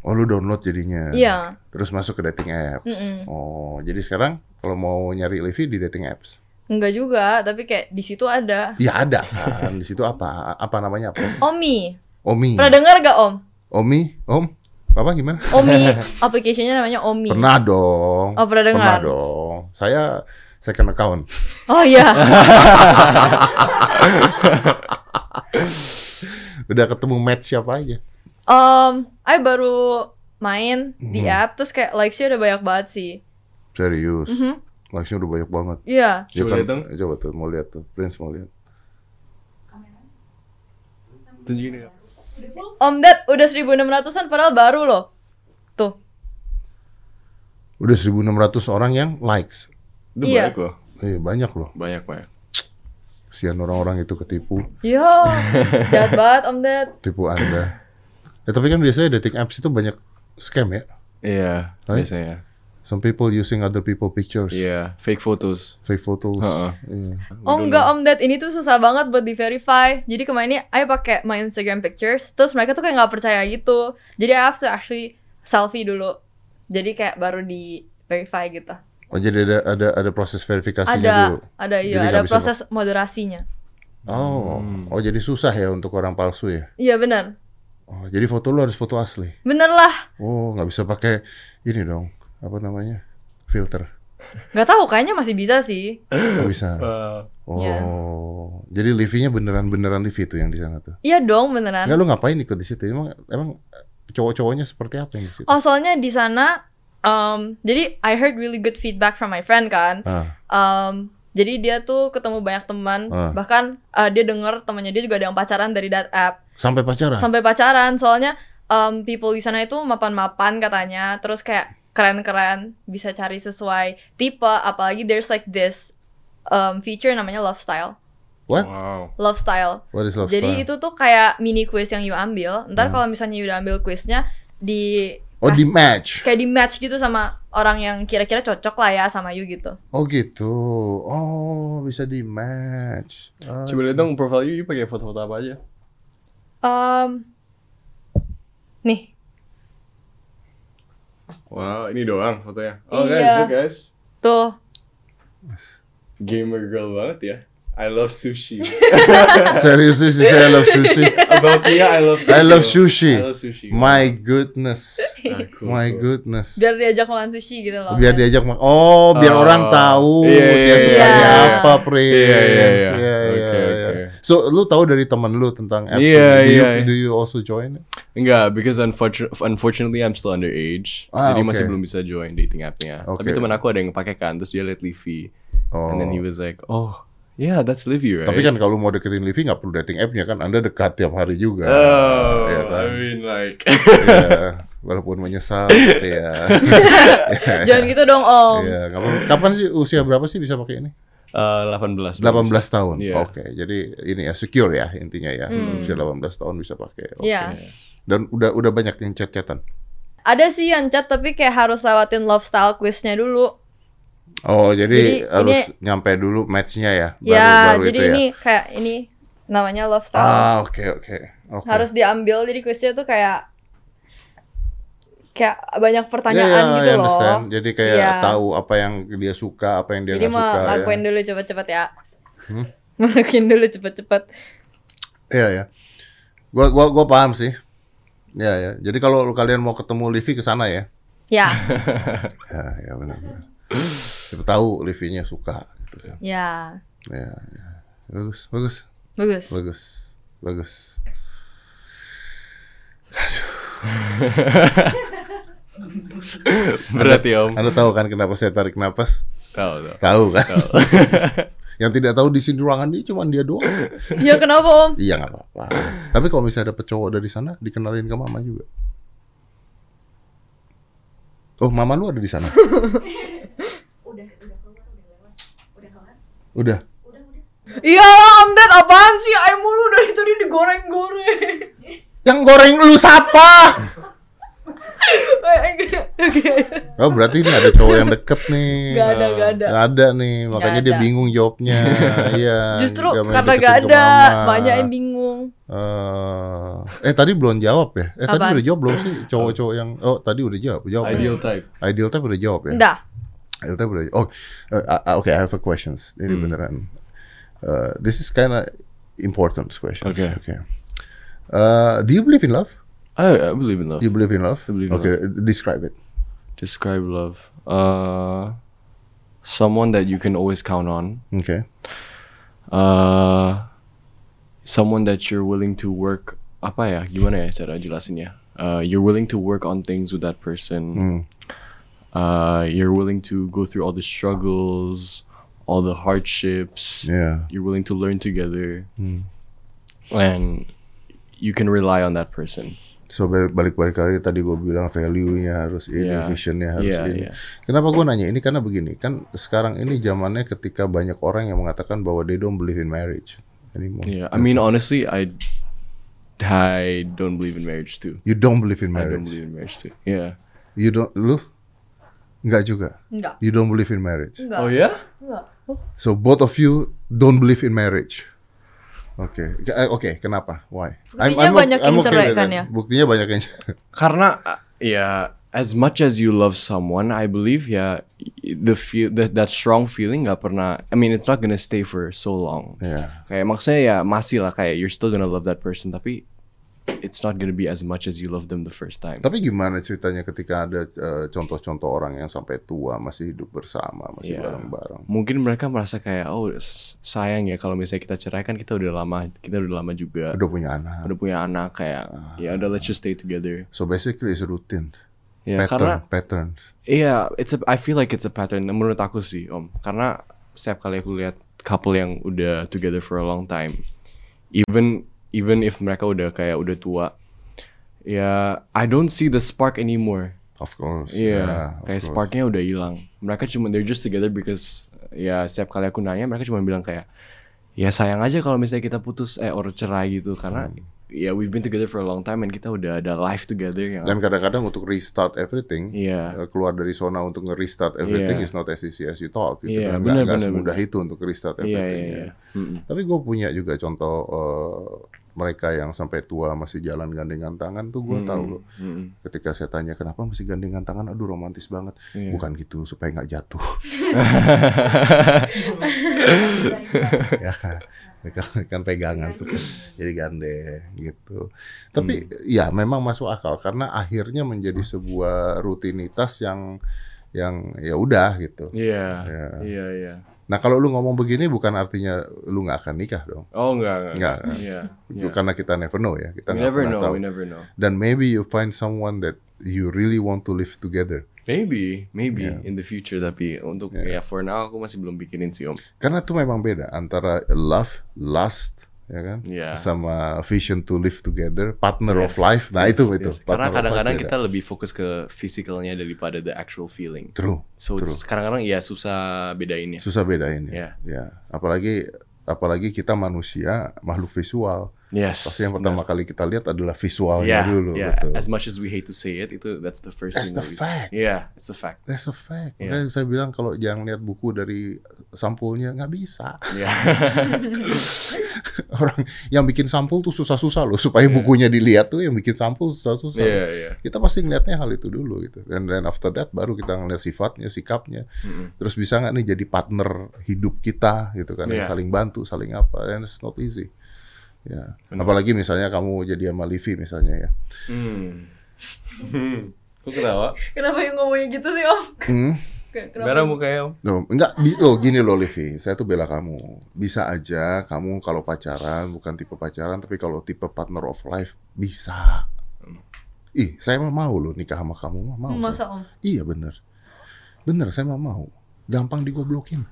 B: Oh lu download jadinya.
C: Iya.
B: Terus masuk ke dating apps.
C: Mm-mm.
B: Oh jadi sekarang kalau mau nyari Levi di dating apps,
C: Enggak juga, tapi kayak di situ ada.
B: ya ada kan. di situ apa? Apa namanya apa?
C: Omi.
B: Omi.
C: Pernah dengar gak Om?
B: Omi, Om, apa gimana?
C: Omi, application-nya namanya Omi.
B: Pernah dong.
C: Oh, pernah
B: Pernah
C: dengar.
B: dong. Saya second account. [LAUGHS]
C: Oh iya.
B: Udah ketemu match siapa aja?
C: Om, I baru main di app terus kayak likes-nya udah banyak banget sih.
B: Serius.
C: Mhm.
B: Langsung udah banyak banget.
C: Iya.
B: Ya
A: Coba
B: kan-
A: lihat dong.
B: Coba tuh, mau lihat tuh. Prince mau lihat.
A: Tunjukin ya.
C: Om Ded udah 1600-an padahal baru loh. Tuh.
B: Udah 1.600 orang yang likes.
A: Itu
C: Iya.
A: banyak loh.
B: Eh, banyak loh.
A: Banyak banyak.
B: Kesian orang-orang itu ketipu.
C: Yo, Iya. jahat banget Om Ded.
B: tipu
C: [SIGHS]
B: Anda. Ya, tapi kan biasanya dating apps itu banyak scam ya.
A: Iya,
B: Right?
A: biasanya.
B: Some people using other people pictures,
A: Iya, fake photos.
B: fake photos.
A: Heeh.
B: Iya.
C: Oh enggak Om Ded, ini tuh susah banget buat di-verify. Jadi kemarin ini ayo pakai my Instagram pictures, terus mereka tuh kayak nggak percaya gitu. Jadi I have to actually selfie dulu. Jadi kayak baru di verify gitu.
B: Oh jadi ada ada ada proses verifikasinya
C: Ada
B: dulu.
C: ada
B: Jadi
C: iya,
B: nggak
C: ada
B: bisa
C: proses moderasinya.
B: Oh, oh jadi susah ya untuk orang palsu ya.
C: Iya benar.
B: Oh, jadi foto lu harus foto asli.
C: Bener lah.
B: Oh, nggak bisa pakai ini dong. Apa namanya? Filter.
C: Nggak tahu kayaknya masih bisa sih.
B: Nggak
C: [LAUGHS]
B: bisa.
A: Eh,
B: Oh,
C: Iya.
B: jadi Livi-nya beneran-beneran Livi itu yang di sana tuh.
C: Iya dong beneran.
B: Enggak lu ngapain ikut di situ? Emang emang cowok-cowoknya seperti apa yang di situ?
C: Oh soalnya di sana, um, jadi I heard really good feedback from my friend kan.
B: Ah,
C: Um, jadi dia tuh ketemu banyak teman,
B: Ah.
C: bahkan uh, dia denger temannya dia juga ada yang pacaran dari that app
B: sampai pacaran.
C: sampai pacaran. Soalnya um, people di sana itu mapan-mapan katanya, terus kayak keren-keren bisa cari sesuai tipe, apalagi there's like this um, feature namanya love style,
B: What?
A: Wow.
C: love style.
B: What is love
C: Jadi
B: style? Hmm.
C: itu tuh kayak mini quiz yang you ambil. Ntar kalau misalnya you udah ambil quiznya di
B: oh di match.
C: kayak di match gitu sama orang yang kira-kira cocok lah ya sama you gitu.
B: Oh gitu. Oh bisa di match. Oh,
A: Coba lihat dong profile you, you pakai foto-foto apa aja?
C: Um, nih,
A: Wow, ini doang fotonya. Oh guys,
C: Iya.
A: look guys.
C: tuh.
A: Gamer girl banget ya. I love sushi. iya.
B: Seriously sih saya love
A: [LAUGHS]
B: sushi.
A: About me, I love sushi.
B: I love sushi.
A: I love sushi.
B: My goodness.
A: Ah, cool,
B: My
A: cool.
B: goodness.
C: Biar diajak makan sushi gitu loh.
B: Biar diajak mak. Oh, biar
A: Oh.
B: orang tahu
A: Iya,
B: dia
A: iya,
B: sukanya
C: iya, iya.
B: apa, Prince.
A: Iya, iya, iya.
B: Iya, iya,
A: Oke,
B: iya.
A: oke.
B: So, lu tahu dari teman lu tentang apps?
A: Iya,
B: do, you,
A: iya.
B: do you also join?
A: Enggak, because unfortu- unfortunately I'm still underage.
B: Ah,
A: jadi
B: oke.
A: masih belum bisa join dating app-nya.
B: Oke.
A: Tapi teman aku ada yang pakai kan, terus dia liat Livi.
B: Oh.
A: And then he was like, "Oh, yeah, that's Livy, right?"
B: Tapi kan kalau mau deketin Livi nggak perlu dating app-nya kan, Anda dekat tiap hari juga.
A: Oh,
B: Iya kan?
A: I mean like [LAUGHS]
B: Iya. Walaupun menyesal, ya.
A: [LAUGHS]
C: Jangan gitu dong om.
B: Iya, kapan, kapan sih usia berapa sih bisa pakai ini?
A: uh, 18.
B: 18 tahun.
A: Iya.
B: Oke, jadi ini ya secure ya intinya ya. Usia 18 tahun bisa pakai. Oke.
C: Hmm. Iya.
B: Dan udah udah banyak yang chat-chatan.
C: Ada sih yang chat tapi kayak harus lewatin love style quiznya dulu.
B: Oh, jadi,
C: Jadi
B: harus
C: ini-
B: nyampe dulu match-nya ya, baru
C: ya,
B: baru
C: jadi
B: itu
C: ini
B: ya.
C: kayak ini namanya love style.
B: Ah, oke oke. Oke.
C: Harus diambil jadi quiznya tuh kayak kayak banyak
B: Ya, ya,
C: pertanyaan
B: I
C: gitu loh.
B: understand. Jadi kayak
C: Iya.
B: tahu apa yang dia suka, apa yang dia
C: Jadi
B: nggak
C: mau
B: suka. ya.
C: lakuin dulu cepet-cepet ya. [LAUGHS] Hmm? lakuin dulu cepet-cepet.
B: Iya ya. Gua gua gua paham sih. Iya ya. Jadi kalau lu- kalian mau ketemu Livi ke sana ya. [LAUGHS]
C: Ya,
B: Ya, ya benar benar. Siapa tahu Livinya suka gitu kan.
C: ya.
B: Ya, ya. Bagus, bagus,
C: Bagus.
B: bagus, bagus.
A: Berarti ya, Om.
B: [LAUGHS] Anda tahu kan kenapa saya tarik napas?
A: Tahu, tahu.
B: Tahu kan? [LAUGHS] Yang tidak tahu di sini ruangan ini cuma dia doang.
C: Ya kenapa Om?
B: Iya nggak apa-apa. Tapi kalau misalnya dapet cowok dari sana, dikenalin ke mama juga. Oh, mama lu ada di sana? udah,
C: Iya Om Dad, apaan sih? Ay mulu dari tadi digoreng-goreng. [LAUGHS]
B: Yang goreng lu siapa? Oh, berarti ini ada cowok yang deket nih.
C: Gak ada, gak ada.
B: Nggak ada nih, makanya dia
C: ada.
B: bingung
C: [LAUGHS]
B: jawabnya. Iya.
C: Justru
B: nggak mau
C: karena
B: deketin ke
C: gak ada,
B: mama.
C: banyak yang bingung.
B: eh tadi belum jawab ya? Eh tadi
C: Apaan?
B: udah jawab belum sih cowok-cowok yang oh tadi udah jawab, jawab. ya?
A: Ideal type.
B: Ideal type udah jawab ya?
C: Enggak.
B: I'll tell you- Oh, uh, uh, okay. I have a questions. Ini
A: Hmm.
B: beneran. Uh, this is kind of important question.
A: Okay.
B: Okay. Uh, do you believe in love?
A: I, I believe in love.
B: Do you believe in love?
A: I believe in
B: okay. Describe it.
A: Describe love. Uh, someone that you can always count on.
B: Okay.
A: Uh, someone that you're willing to work apa ya? Gimana ya cara jelasinnya? Uh, you're willing to work on things with that
B: Hmm.
A: person. Uh, you're willing to go through all the struggles, all the hardships.
B: Yeah. Hmm.
A: You're willing to learn together, and you can rely on that person.
B: So ba- balik-balik lagi tadi gue bilang value-nya harus ini,
A: Yeah.
B: vision-nya harus
A: Yeah,
B: ini.
A: yeah.
B: Kenapa gue nanya ini? Karena begini, kan sekarang ini zamannya ketika banyak orang yang mengatakan bahwa they don't believe in marriage anymore.
A: Yeah, Iya, I mean, honestly, I I don't believe in marriage too.
B: you don't believe
A: I
B: in
A: don't
B: marriage.
A: believe in marriage too. Yeah.
B: You don't, lu? Enggak juga.
C: Enggak.
B: You don't believe in marriage.
C: Enggak.
A: yeah.
C: Enggak.
B: So both of you don't believe in marriage. Oke, Ke- eh, oke, kenapa? Why?
C: Buktinya banyak yang
B: okay
C: cerai
B: with
C: kan
B: that.
C: ya?
B: Buktinya banyak yang [LAUGHS]
A: Karena uh, yeah, as much as you love someone, I believe yeah, the feel that that strong feeling nggak pernah. I mean, it's not gonna stay for so long.
B: Yeah.
A: Kayak maksudnya ya masih lah kayak you're still gonna love that person tapi it's not gonna be as much as you love them the first time.
B: Tapi gimana ceritanya ketika ada eh, contoh-contoh orang yang sampai tua masih hidup bersama, masih
A: Yeah.
B: bareng-bareng.
A: Mungkin mereka merasa kayak oh s- sayang ya kalau misalnya kita cerai kan kita udah lama kita udah lama juga
B: Udah Ah. punya anak.
A: udah punya anak kayak ya udah let's just stay together.
B: So basically it's routine.
A: Ya karena
B: pattern, pattern.
A: Iya, it's a, I feel like it's a pattern menurut aku sih, Om. Karena setiap kali aku lihat couple yang udah together for a long time, even even if mereka udah kayak udah tua, ya I don't see the spark anymore.
B: Of course.
A: Iya,
B: Yeah, of
A: kayak
B: course.
A: sparknya udah hilang. Mereka cuma they're just together because ya setiap kali aku nanya mereka cuma bilang kayak ya sayang aja kalau misalnya kita putus eh or cerai gitu karena
B: Hmm.
A: ya we've been together for a long time and kita udah ada life together yang
B: Dan kadang-kadang untuk restart everything,
A: Iya.
B: eh, keluar dari zona untuk nge-restart everything
A: Iya.
B: is not as easy as you thought. Gitu.
A: Iya, benar,
B: kan. Nggak- nggak
A: benar,
B: semudah
A: benar.
B: itu untuk restart
A: iya
B: everything.
A: iya
B: ya.
A: iya. Mm-mm.
B: Tapi gue punya juga contoh eh, mereka yang sampai tua masih jalan gandengan tangan tuh
A: Hmm.
B: gue tahu loh.
A: Mm-mm.
B: Ketika saya tanya kenapa masih gandengan tangan, aduh romantis banget.
A: Iya.
B: Bukan gitu supaya nggak
A: [LAUGHS]
B: jatuh. ya kan, kan pegangan
A: Iya.
B: supaya jadi gandeng gitu. Tapi
A: Hmm.
B: ya memang masuk akal karena akhirnya menjadi sebuah rutinitas yang yang ya udah gitu.
A: Iya.
B: Iya.
A: Iya iya.
B: Nah kalau lu ngomong begini bukan artinya lu nggak akan nikah dong.
A: Oh enggak enggak.
B: Enggak.
A: Iya.
B: Itu
A: iya.
B: Karena kita never know ya.
A: We
B: Kita nggak
A: never
B: pernah
A: know,
B: tahu.
A: we never know.
B: Dan maybe you find someone that you really want to live together.
A: Maybe, maybe
B: Iya.
A: in the future tapi untuk ya for now aku masih belum bikinin sih Om.
B: Karena itu memang beda antara love, lust, ya kan,
A: Iya.
B: sama vision to live together, partner of
A: Yes,
B: life. Nah
A: yes,
B: itu itu.
A: yes. Karena
B: partner of life
A: kadang-kadang
B: beda.
A: kita lebih fokus ke physicalnya daripada the actual feeling.
B: true,
A: So
B: true.
A: it's- kadang-kadang ya susah bedainnya.
B: Susah bedain ya.
A: Iya.
B: Ya. Apalagi apalagi kita manusia makhluk visual.
A: Yes.
B: Pasti yang pertama kali kita lihat adalah
A: Yeah,
B: visualnya dulu,
A: yeah.
B: betul.
A: Ya, As much as we hate to say it, itu that's the first
B: That's
A: thing.
B: the
A: that we-
B: fact.
A: Yeah, it's a fact.
B: That's a fact.
A: Iya.
B: Makanya saya bilang kalau jangan lihat buku dari sampulnya nggak bisa. [LAUGHS]
A: Yeah.
B: orang yang bikin sampul tuh susah-susah loh supaya
A: Ya.
B: bukunya dilihat tuh yang bikin sampul susah-susah.
A: Iya, iya.
B: Kita pasti ngelihatnya hal itu dulu gitu. Dan dan after that baru kita ngelihat sifatnya, sikapnya.
A: Mm-mm.
B: Terus bisa nggak nih jadi partner hidup kita gitu kan yang
A: Iya.
B: saling bantu, saling apa. And it's not easy. Ya. Apalagi misalnya kamu jadi sama Livi misalnya ya.
A: Hmm. Kok ketawa?
C: Kenapa yang ngomongnya gitu sih om?
B: Hmm.
C: Ken- Kenapa?
A: Merah mukanya Om.
B: Loh, enggak bi- loh gini loh Livi, saya tuh bela kamu. Bisa aja kamu kalau pacaran bukan tipe pacaran tapi kalau tipe partner of life bisa. Ih, saya mah mau loh nikah sama kamu mah mau.
C: Masa
B: saya.
C: om?
B: Iya bener Bener saya mah mau. Gampang digoblokin.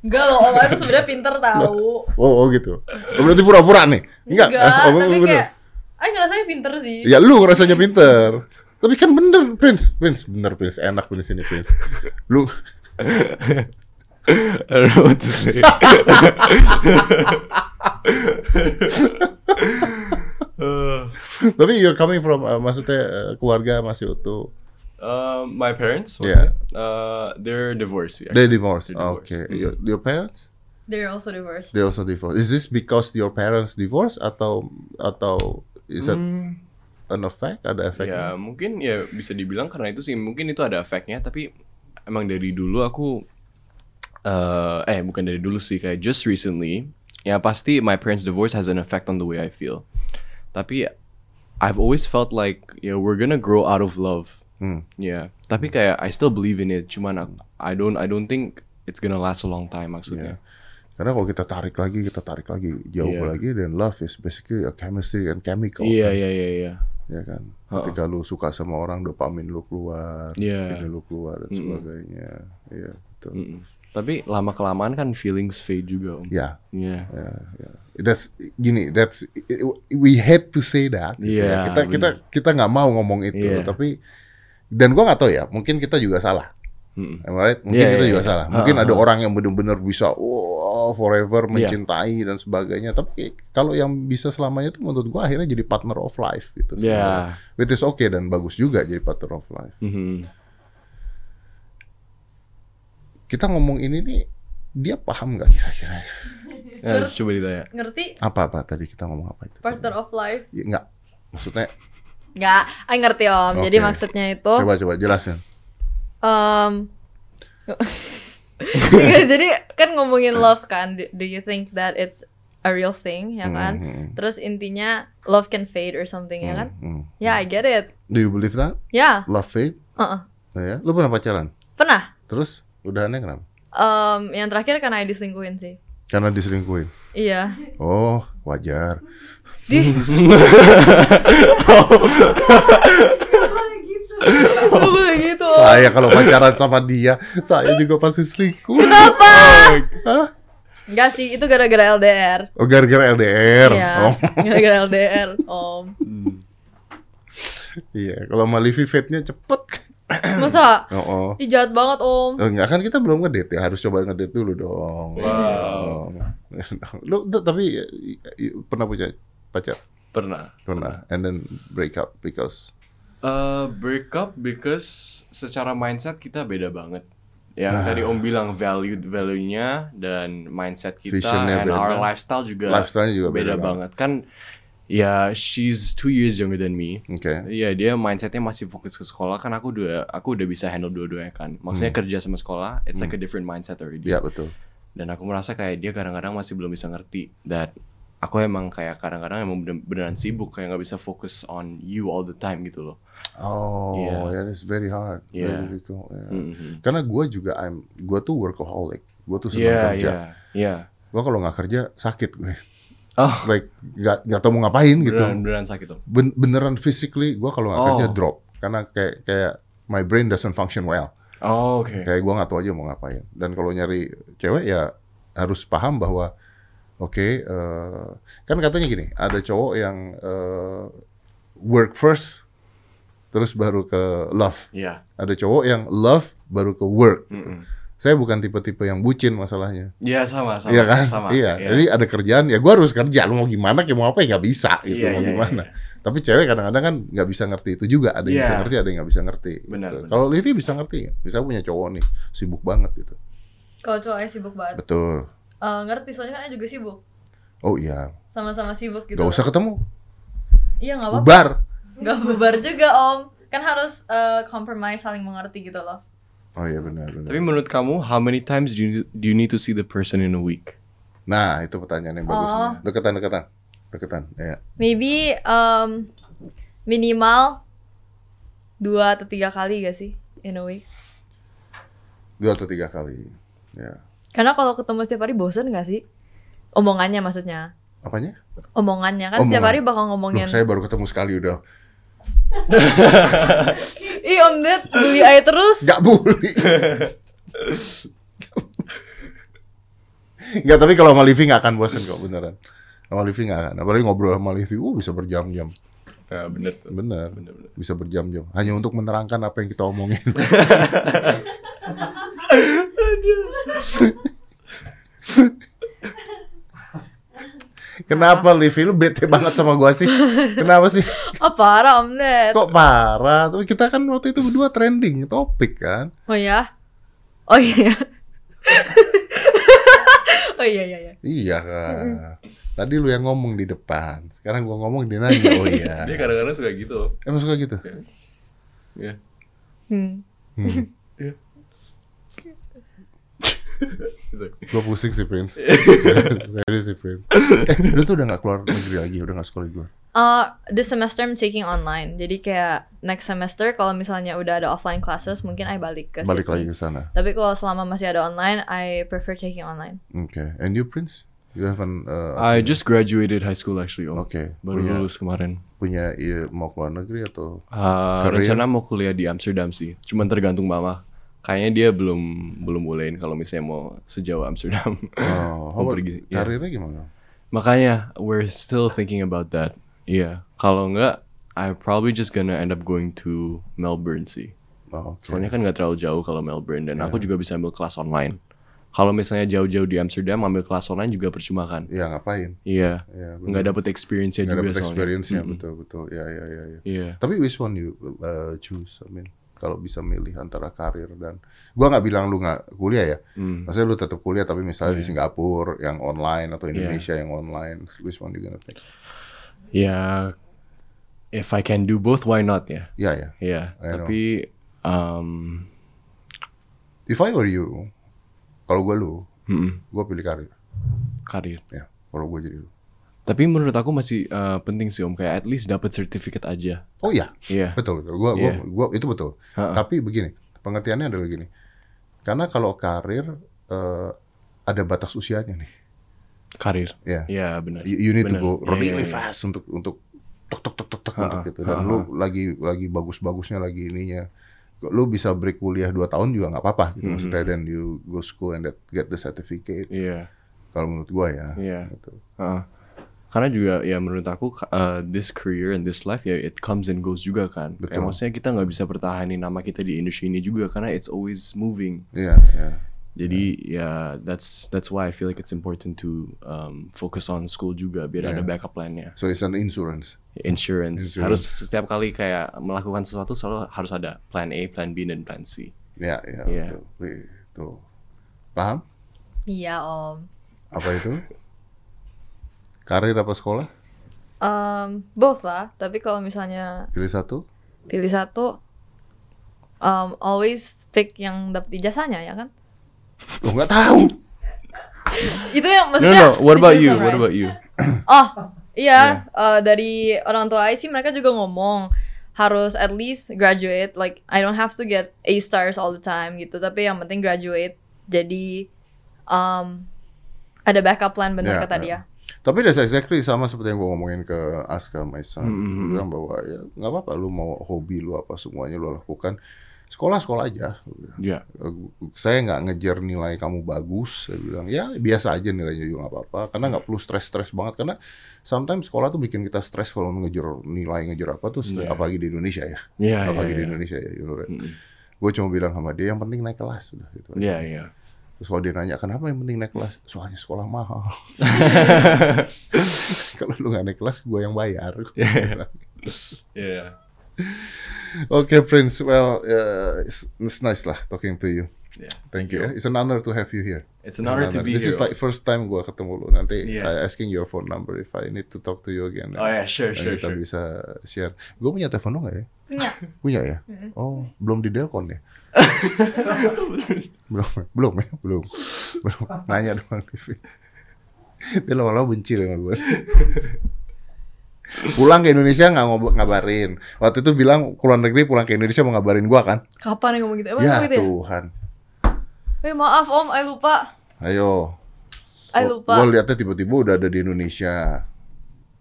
C: Enggak loh om, itu sebenarnya pinter tahu.
B: Oh, oh gitu. Oh, berarti pura-pura nih. Enggak.
C: Enggak,
B: [LAUGHS] Oh,
C: tapi
B: bener.
C: kayak Aku ngerasanya pinter sih.
B: Ya lu ngerasanya pinter. Tapi kan bener Prince, Prince bener Prince enak Prince ini Prince. Lu
A: I don't know what to say.
B: [LAUGHS]
A: Uh,
B: tapi you're coming from uh, maksudnya uh, keluarga masih utuh.
A: uh, my parents,
B: Yeah.
A: uh, they're divorced.
B: They divorced.
A: They're divorced.
B: Okay. Your, your parents?
C: They're also divorced.
B: They also divorced. Is this because your parents divorced atau atau is that
A: Hmm.
B: an effect? Ada
A: Ya
B: efeknya?
A: mungkin ya bisa dibilang karena itu sih mungkin itu ada efeknya tapi emang dari dulu aku eh eh bukan dari dulu sih kayak just recently ya pasti my parents divorce has an effect on the way I feel tapi I've always felt like ya we're gonna grow out of love
B: Hmm.
A: ya tapi kayak I still believe in it cuman aku- I don't I don't think it's gonna last a long time maksudnya
B: Karena kalau kita tarik lagi, kita tarik lagi jauh
A: Iya.
B: lagi dan love is basically a chemistry and chemical. kan?
A: iya iya iya iya
B: Ya kan. Ketika lu suka sama orang, dopamin lu keluar,
A: Iya.
B: ini lu keluar dan sebagainya. Iya, betul.
A: Mm-mm. tapi lama kelamaan kan feelings fade juga om
B: Ya,
A: Iya.
B: ya, ya. That's gini, that's we had to say that. gitu
A: Iya,
B: ya. Kita kita kita nggak mau ngomong itu,
A: Iya.
B: tapi dan gua nggak tahu ya, mungkin kita juga salah.
A: Mm-mm.
B: Am I right? Mungkin
A: Iya,
B: kita
A: iya,
B: juga
A: iya.
B: salah. Mungkin
A: Ha,
B: ada
A: ha.
B: orang yang benar-benar bisa wow,
A: Iya.
B: forever mencintai dan sebagainya. Tapi kalau yang bisa selamanya itu menurut gua akhirnya jadi partner of life gitu. sebenarnya.
A: Ya.
B: Which is okay dan bagus juga jadi partner of life.
A: Mhm.
B: Kita ngomong ini nih dia paham nggak kira-kira?
A: Ya, coba ditanya.
C: Ngerti?
B: Apa apa tadi kita ngomong apa itu?
C: Partner of life.
B: Ya, nggak. Maksudnya
C: Enggak, aku ngerti om. Jadi
B: Oke.
C: maksudnya itu
B: coba coba jelasin.
C: Um,
B: [LAUGHS]
C: Nggak, jadi kan ngomongin love kan, do, do you think that it's a real thing ya kan?
B: Mhm.
C: Terus intinya love can fade or something ya kan?
B: Hmm.
C: Ya, I get it.
B: Do you believe that?
C: Ya,
B: Love fate?
C: uh-uh.
B: Ya. Lu pernah pacaran?
C: pernah.
B: Terus udahannya kenapa?
C: Um, yang terakhir karena diselingkuhin sih.
B: Karena diselingkuhin.
C: Iya.
B: Oh, wajar.
C: Di. Gak boleh gitu.
B: Saya kalau pacaran sama dia, saya juga pasti selingkuh.
C: Kenapa?
B: Hah?
C: Enggak sih, itu gara-gara LDR.
B: Oh, gara-gara LDR.
C: Iya,
B: Oh,
C: [LAUGHS] gara-gara LDR, Om.
B: iya. Kalau sama Livi fate-nya cepet.
C: Masa?
B: Oh, oh.
C: Ih, jahat banget, Om.
B: Oh, enggak kan kita belum ngedate ya, harus coba ngedate dulu dong. Oh.
A: Wow.
B: Lu d- tapi eh, eh, pernah punya pacar?
A: Pernah.
B: Pernah. And then break up because
A: Eh, break up because secara mindset kita beda banget. Yang tadi Om bilang value value-nya dan mindset kita
B: Visionnya
A: and our
B: beda.
A: lifestyle juga
B: Lifestyle-nya juga
A: Iya.
B: beda
A: beda, banget. Kan ya she's two years younger than me.
B: oke.
A: Iya dia mindsetnya masih fokus ke sekolah kan aku udah aku udah bisa handle dua-duanya kan. Maksudnya kerja sama sekolah it's like a different mindset already.
B: Iya, betul.
A: Dan aku merasa kayak dia kadang-kadang masih belum bisa ngerti that aku emang kayak kadang-kadang emang bener- beneran sibuk kayak nggak bisa fokus on you all the time gitu loh.
B: Oh,
A: Iya.
B: yeah, it's very hard. Very
A: Iya.
B: difficult, yeah.
A: Mhm.
B: Karena gue juga I'm gue tuh workaholic. Gue tuh senang
A: Iya
B: kerja.
A: iya iya.
B: Gue kalau nggak kerja sakit gue.
A: Oh
B: Like nggak nggak tahu mau ngapain gitu.
A: beneran beneran sakit om.
B: Ben- beneran physically gue kalau nggak
A: Iya, Oh.
B: kerja drop. Karena kayak kayak my brain doesn't function well.
A: Oh oke.
B: Kayak gue nggak tahu aja mau ngapain. Dan kalau nyari cewek ya harus paham bahwa oke eh, kan katanya gini ada cowok yang eh, work first terus baru ke love.
A: Iya.
B: Ada cowok yang love baru ke work.
A: Mm-mm.
B: Saya bukan tipe-tipe yang bucin masalahnya.
A: Iya sama sama.
B: Iya kan?
A: Sama.
B: Iya. Jadi ada kerjaan ya gua harus kerja. Lu mau gimana? Kayak mau apa ya nggak bisa gitu.
A: Iya,
B: mau
A: iya,
B: gimana? Tapi cewek kadang-kadang kan nggak bisa ngerti itu juga. Ada
A: Iya.
B: yang bisa ngerti, ada yang nggak bisa ngerti.
A: Benar,
B: gitu.
A: benar.
B: Kalau Livi bisa ngerti, nggak? bisa punya cowok nih sibuk banget gitu.
C: Kalau cowoknya sibuk banget.
B: Betul.
C: Eh, ngerti, soalnya kan aku juga sibuk.
B: Oh iya,
C: Sama-sama sibuk gitu.
B: nggak usah ketemu.
C: Iya, nggak apa-apa.
B: Bubar.
C: Nggak bubar juga, Om. Kan harus eh, compromise, saling mengerti gitu loh.
B: Oh iya benar benar.
A: Tapi menurut kamu how many times do you, do you need to see the person in a week?
B: Nah itu pertanyaan yang bagus.
C: Oh.
B: Deketan deketan deketan. Ya.
C: Maybe um, minimal dua atau tiga kali gak sih in a week?
B: Dua atau tiga kali. Ya.
C: Karena kalau ketemu setiap hari bosen gak sih? Omongannya maksudnya.
B: Apanya?
C: Omongannya kan setiap hari
B: Omongan.
C: bakal
B: Loh,
C: ngomongin.
B: saya baru ketemu sekali udah.
C: Ih om Ded, beli air terus.
B: Gak bully. Gak, tapi kalau sama Livi gak akan bosen kok, beneran. Sama Livi gak akan. Apalagi ngobrol sama Livi, uh bisa berjam-jam.
A: Ya bener tuh.
B: Bener.
A: Bener, bener.
B: Bisa berjam-jam. Hanya untuk menerangkan apa yang kita omongin. Kenapa Livi lu bete banget sama gua sih? Kenapa sih?
C: Oh parah om Ded.
B: Kok parah? Tapi kita kan waktu itu berdua trending topik kan.
C: Oh ya? Oh iya. [LAUGHS] oh iya iya iya.
B: Iya kan. Tadi lu yang ngomong di depan. Sekarang gua ngomong dia nanya. Oh iya.
A: Dia kadang-kadang suka gitu loh.
B: Emang suka gitu?
A: Iya.
C: Hmm.
B: Hmm. Gua pusing sih Prince. Serius sih Prince. Eh, lu tuh udah gak keluar negeri lagi, udah gak sekolah di luar.
C: Eh, this semester I'm taking online. Jadi kayak next semester kalau misalnya udah ada offline classes mungkin I balik ke
B: Balik
C: Sydney.
B: lagi ke sana.
C: Tapi kalau selama masih ada online, I prefer taking online.
B: Oke. And you Prince? You haven't uh,
A: I just graduated high school actually om.
B: Oke.
A: Ah, Baru
B: Punya-
A: lulus kemarin.
B: punya ide mau keluar negeri
A: [CLEARS THROAT]
B: atau
A: Uh,
B: Career?
A: rencana mau kuliah di Amsterdam sih, cuman tergantung mama. Kayaknya dia belum belum bolehin kalau misalnya mau sejauh Amsterdam. [LAUGHS] Mau
B: oh, how about
A: pergi, ya.
B: karirnya gimana?
A: Makanya we're still thinking about that. Iya, kalau enggak I probably just gonna end up going to Melbourne sih.
B: Oh, oke.
A: Soalnya kan nggak terlalu jauh kalau Melbourne dan aku juga bisa ambil kelas online. Kalau misalnya jauh-jauh di Amsterdam ambil kelas online juga percuma kan?
B: Ya ngapain?
A: Iya.
B: Ya, bener.
A: Nggak dapet experience-nya
B: Nggak
A: juga
B: dapet
A: soalnya.
B: experience ya,
A: Mm-mm.
B: betul betul. Ya ya ya ya.
A: Iya.
B: Tapi which one you uh, choose? I mean, kalau bisa milih antara karir dan gua nggak bilang lu nggak kuliah ya.
A: Mm.
B: Maksudnya lu tetap kuliah tapi misalnya di Singapura yang online atau Indonesia yang online, which one you gonna pick?
A: Ya, if I can do both, why not ya?
B: Ya ya.
A: Iya,
B: I know.
A: tapi um,
B: If I were you, kalau gua lu,
A: mm-mm,
B: gua pilih karir.
A: karir.
B: Ya, kalau gua jadi lu.
A: Tapi menurut aku masih eh, penting sih om kayak at least dapat sertifikat aja.
B: Oh iya,
A: Iya.
B: betul betul. Gua
A: Iya.
B: gua, gua itu betul.
A: Ha-ha.
B: Tapi begini, pengertiannya adalah gini. Karena kalau karir eh, ada batas usianya nih.
A: Karir.
B: Ya.
A: Iya benar.
B: you, you need
A: Benar.
B: to go
A: Iya,
B: really
A: iya, Ah, iya.
B: fast untuk untuk tok tok tok tok tok
A: Ha-ha,
B: untuk gitu dan
A: ha-ha.
B: lu lagi lagi bagus-bagusnya lagi ininya lu bisa
A: Mhm.
B: break kuliah 2 tahun juga nggak apa-apa gitu maksudnya dan you go school and that, get the certificate
A: Iya.
B: kalau menurut gua ya.
A: Iya.
B: Gitu.
A: Heeh. karena juga ya menurut aku ka- uh, this career and this life ya it comes and goes juga kan. Kayak
B: Betul.
A: maksudnya kita nggak bisa pertahanin nama kita di industri ini juga karena it's always moving.
B: Iya, iya.
A: Jadi ya that's that's why I feel like it's important to um, focus on school juga biar ada
B: Yeah.
A: backup plan-nya.
B: So it's an insurance.
A: Insurance. harus
B: Insurance.
A: setiap kali kayak melakukan sesuatu selalu harus ada plan A, plan B dan plan C.
B: Iya, iya.
A: Iya.
B: betul. Wih, Tuh. Paham?
C: Iya om.
B: Apa itu? Karir apa sekolah?
C: Um, both lah. Tapi kalau misalnya
B: Pilih satu.
C: pilih satu, um, always pick yang dapet ijazahnya ya kan?
B: Oh, nggak tahu.
C: Itu yang
A: No, no,
C: maksudnya. ya?
A: no. What about
C: disuruh
A: you? What
C: summarize.
A: about you?
C: Oh iya eh, dari orang tua I sih mereka juga ngomong harus at least graduate like I don't have to get A stars all the time gitu tapi yang penting graduate jadi um, ada backup plan
B: Ya,
C: bener kata
B: ya.
C: dia.
B: Tapi that's exactly sama seperti yang gue ngomongin ke Aska, my son.
A: Mm-mm.
B: Dia bilang bahwa ya nggak apa-apa, lu mau hobi lu apa semuanya lu lakukan. Sekolah-sekolah aja. Gua bilang,
A: Yeah.
B: "Eh, gua- Saya nggak ngejar nilai kamu bagus. Saya bilang, ya biasa aja nilainya juga nggak apa-apa. Karena nggak perlu stres-stres banget. Karena sometimes sekolah tuh bikin kita stres kalau ngejar nilai, ngejar apa tuh. stres.
A: Iya. Ah,
B: Apalagi di Indonesia ya.
A: Yeah.
B: apalagi di
A: Yeah.
B: Indonesia ya. You know, right?
A: Oh, iya. Mm-mm.
B: Gue cuma bilang sama dia, yang penting naik kelas. Udah, gitu.
A: Yeah, [LAUGHS] yeah.
B: Terus kalau dia nanya, kenapa yang penting naik kelas? Soalnya sekolah mahal. [LAUGHS] kalau lu nggak naik kelas, gue yang bayar.
A: Yeah.
B: Oke, Prince. Well, uh, it's, it's nice lah talking to you.
A: Yeah.
B: Thank you. It's an honor to have you here.
A: It's an honor to be
B: This
A: here.
B: is like first time gue ketemu lu. Nanti
A: Iya.
B: I asking your phone number if I need to talk to you again.
A: oh yeah, sure, sure,
B: Dan kita
A: sure.
B: bisa share. Gue punya telepon lo nggak ya?
C: Punya.
B: Punya ya? Oh, belum di Delcon
C: [LAUGHS]
B: ya? belum, ya? belum ya? Belum. belum. Nanya doang Livi. Dia lama-lama benci deh sama gue. pulang ke Indonesia nggak ngob- ngabarin. Waktu itu bilang keluar negeri pulang ke Indonesia mau ngabarin gua kan?
C: Kapan yang ngomong gitu? Emang
B: ya
C: ngomong gitu ya?
B: Tuhan.
C: Eh maaf om, I lupa.
B: Ayo.
C: I lupa.
B: Gue liatnya tiba-tiba udah ada di Indonesia.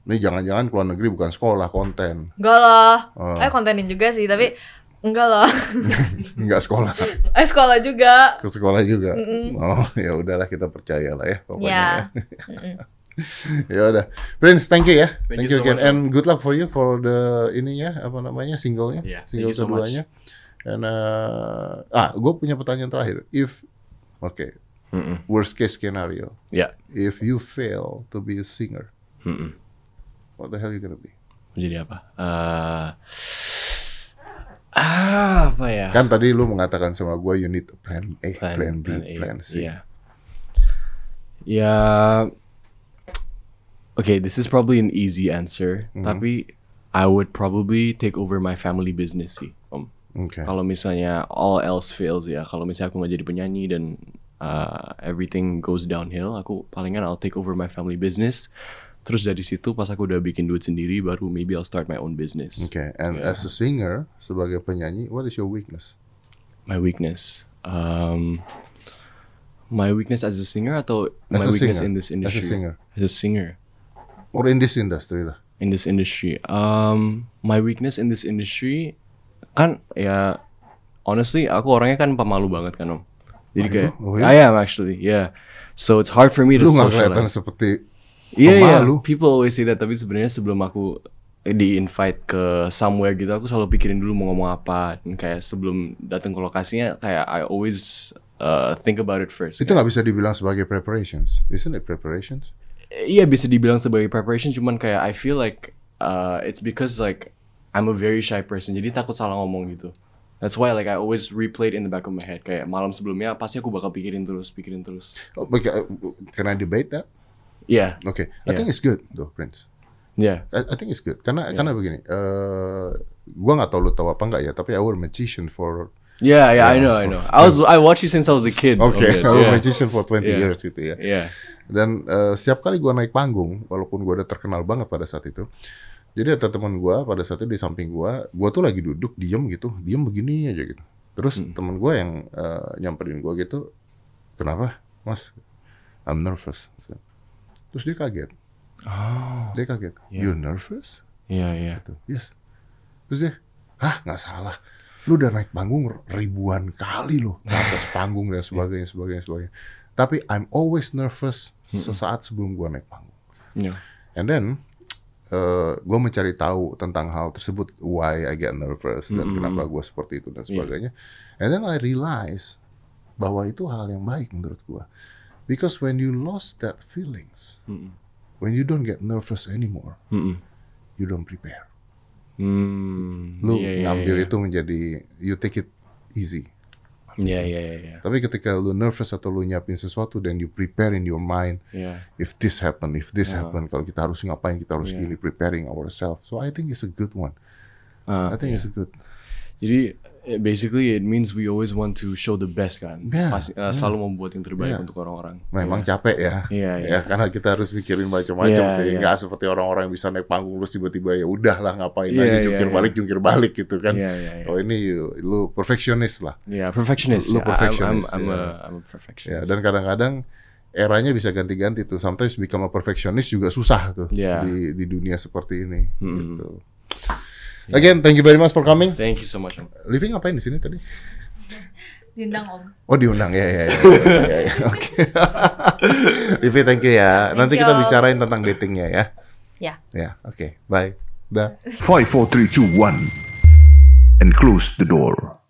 B: Ini jangan-jangan keluar negeri bukan sekolah konten,
C: Enggak lah.
B: Oh.
C: Eh kontenin juga sih tapi enggak lah. [LAUGHS]
B: nggak sekolah.
C: eh sekolah juga.
B: ke sekolah juga.
C: Mm-mm.
B: Oh, [LAUGHS] ya udahlah kita percaya lah ya pokoknya.
C: Ya.
B: Ya.
C: Mm-mm.
B: ya udah. Prince, thank you ya. Thank,
A: Thank
B: you,
A: you so
B: again
A: much,
B: and good luck for you for the ininya apa namanya singlenya,
A: Yeah, Iya, thank
B: single
A: you so much.
B: keduanya. And uh, ah, gue punya pertanyaan terakhir. If oke,
A: Mm-mm.
B: worst case scenario,
A: Yeah.
B: if you fail to be a singer,
A: Mm-mm.
B: what the hell you gonna be?
A: Jadi apa? Eh, ah, apa ya?
B: Kan tadi lu mengatakan sama gue you need a plan A, plan, B, plan,
A: A, Iya.
B: C.
A: Yeah. Ya. Okay, this is probably an easy answer,
B: Mm-hmm.
A: tapi I would probably take over my family business sih, Om.
B: Oke.
A: Kalau misalnya all else fails ya, kalau misalnya aku nggak jadi penyanyi dan uh, everything goes downhill, aku palingan I'll take over my family business. Terus dari situ pas aku udah bikin duit sendiri, baru maybe I'll start my own business.
B: Oke, and
A: Yeah.
B: as a singer sebagai penyanyi, what is your weakness?
A: My weakness, um, my weakness as a singer atau
B: As
A: my
B: a
A: weakness
B: singer.
A: in this industry
B: As a singer
A: As a singer
B: or in this industry lah.
A: in this industry, um, my weakness in this industry kan ya honestly aku orangnya kan pemalu banget kan om. Jadi
B: Oh,
A: kayak
B: oh ya?
A: I am actually, yeah. So it's hard for me to
B: lu nggak kelihatan
A: socialize.
B: seperti
A: Iya iya.
B: pemalu.
A: People always say that tapi sebenarnya sebelum aku di invite ke somewhere gitu aku selalu pikirin dulu mau ngomong apa dan kayak sebelum datang ke lokasinya kayak I always uh, think about it first.
B: itu nggak bisa dibilang sebagai preparations isn't it preparations
A: iya bisa dibilang sebagai preparation cuman kayak I feel like uh, it's because like I'm a very shy person jadi takut salah ngomong gitu that's why like I always replay it in the back of my head kayak malam sebelumnya pasti aku bakal pikirin terus pikirin terus
B: oh, but, uh, can I debate that
A: iya
B: oke I
A: Yeah.
B: think it's good though Prince
A: iya
B: I, I think it's good karena karena begini eh gua nggak tahu lu tahu apa nggak ya tapi our magician for
A: iya iya I know I know I was I watched you since I was a kid [LAUGHS] [LAUGHS]
B: oke
A: Okay, Oh,
B: our
A: yeah.
B: magician for 20
A: Yeah.
B: years gitu ya
A: Iya.
B: Dan eh, setiap kali gua naik panggung, walaupun gua udah terkenal banget pada saat itu, jadi ada teman gua pada saat itu di samping gua, gua tuh lagi duduk diem gitu, diem begini aja gitu. Terus teman gua yang eh, nyamperin gua gitu, kenapa, Mas? I'm nervous. Terus dia kaget,
A: oh
B: dia kaget.
A: Iya.
B: You nervous?
A: iya iya
B: Gitu. Yes. Terus dia, hah nggak salah. Lu udah naik panggung ribuan kali loh, ke atas panggung dan sebagainya, sebagainya, sebagainya. Tapi I'm always nervous sesaat sebelum gua naik panggung.
A: Yeah.
B: And then gue mencari tahu tentang hal tersebut, why I get nervous dan
A: Mm-hmm.
B: kenapa gue seperti itu dan sebagainya. And then I realize bahwa itu hal yang baik menurut gue, because when you lost that feelings, when you don't get nervous anymore,
A: Mm-mm.
B: you don't prepare.
A: Hmm.
B: Lu
A: yeah, yeah,
B: ngambil
A: yeah.
B: itu menjadi you take it easy.
A: Yeah, yeah, yeah, yeah.
B: Tapi ketika lu nervous atau lu nyiapin sesuatu dan you prepare in your mind,
A: Yeah.
B: if this happen, if this
A: Yeah.
B: happen, kalau kita harus ngapain, kita harus
A: Yeah.
B: gini preparing ourselves. So I think it's a good one.
A: Ah,
B: I think
A: yeah.
B: it's a good.
A: Jadi eh, basically it means we always want to show the best kan.
B: Yeah,
A: Pasti- eh, Selalu membuat yang terbaik
B: Yeah.
A: untuk orang-orang.
B: Memang capek ya.
A: Iya,
B: ya
A: iya.
B: karena kita harus mikirin macam-macam
A: Iya,
B: sih.
A: iya.
B: Nggak seperti orang-orang yang bisa naik panggung terus tiba-tiba ya udahlah ngapain
A: Iya,
B: aja
A: iya,
B: jungkir
A: iya.
B: balik jungkir balik gitu kan.
A: Iya, iya, iya.
B: Oh ini you- lu perfeksionis lah.
A: Yeah, perfectionist.
B: Lu
A: Yeah, I'm-
B: perfectionist,
A: I'm, I'm,
B: yeah.
A: a, I'm a perfectionist.
B: Ya, dan kadang-kadang eranya bisa ganti-ganti tuh. Sometimes become a perfectionist juga susah tuh
A: Iya. Hmm.
B: di di dunia seperti ini.
A: Mm-mm.
B: Gitu.
A: Iya.
B: Again, thank you very much for coming.
A: Thank you so much. Om.
B: Living ngapain di sini tadi?
C: Dindang om.
B: Oh diundang ya
A: [LAUGHS]
B: ya ya. ya, ya. Oke. [LAUGHS] Livi thank you ya. Nanti
C: Thank
B: kita
C: you.
B: bicarain tentang datingnya ya.
C: Ya.
B: Ya, oke. Bye. Dah.
D: 5, 4, 3, 2, 1, and close the door.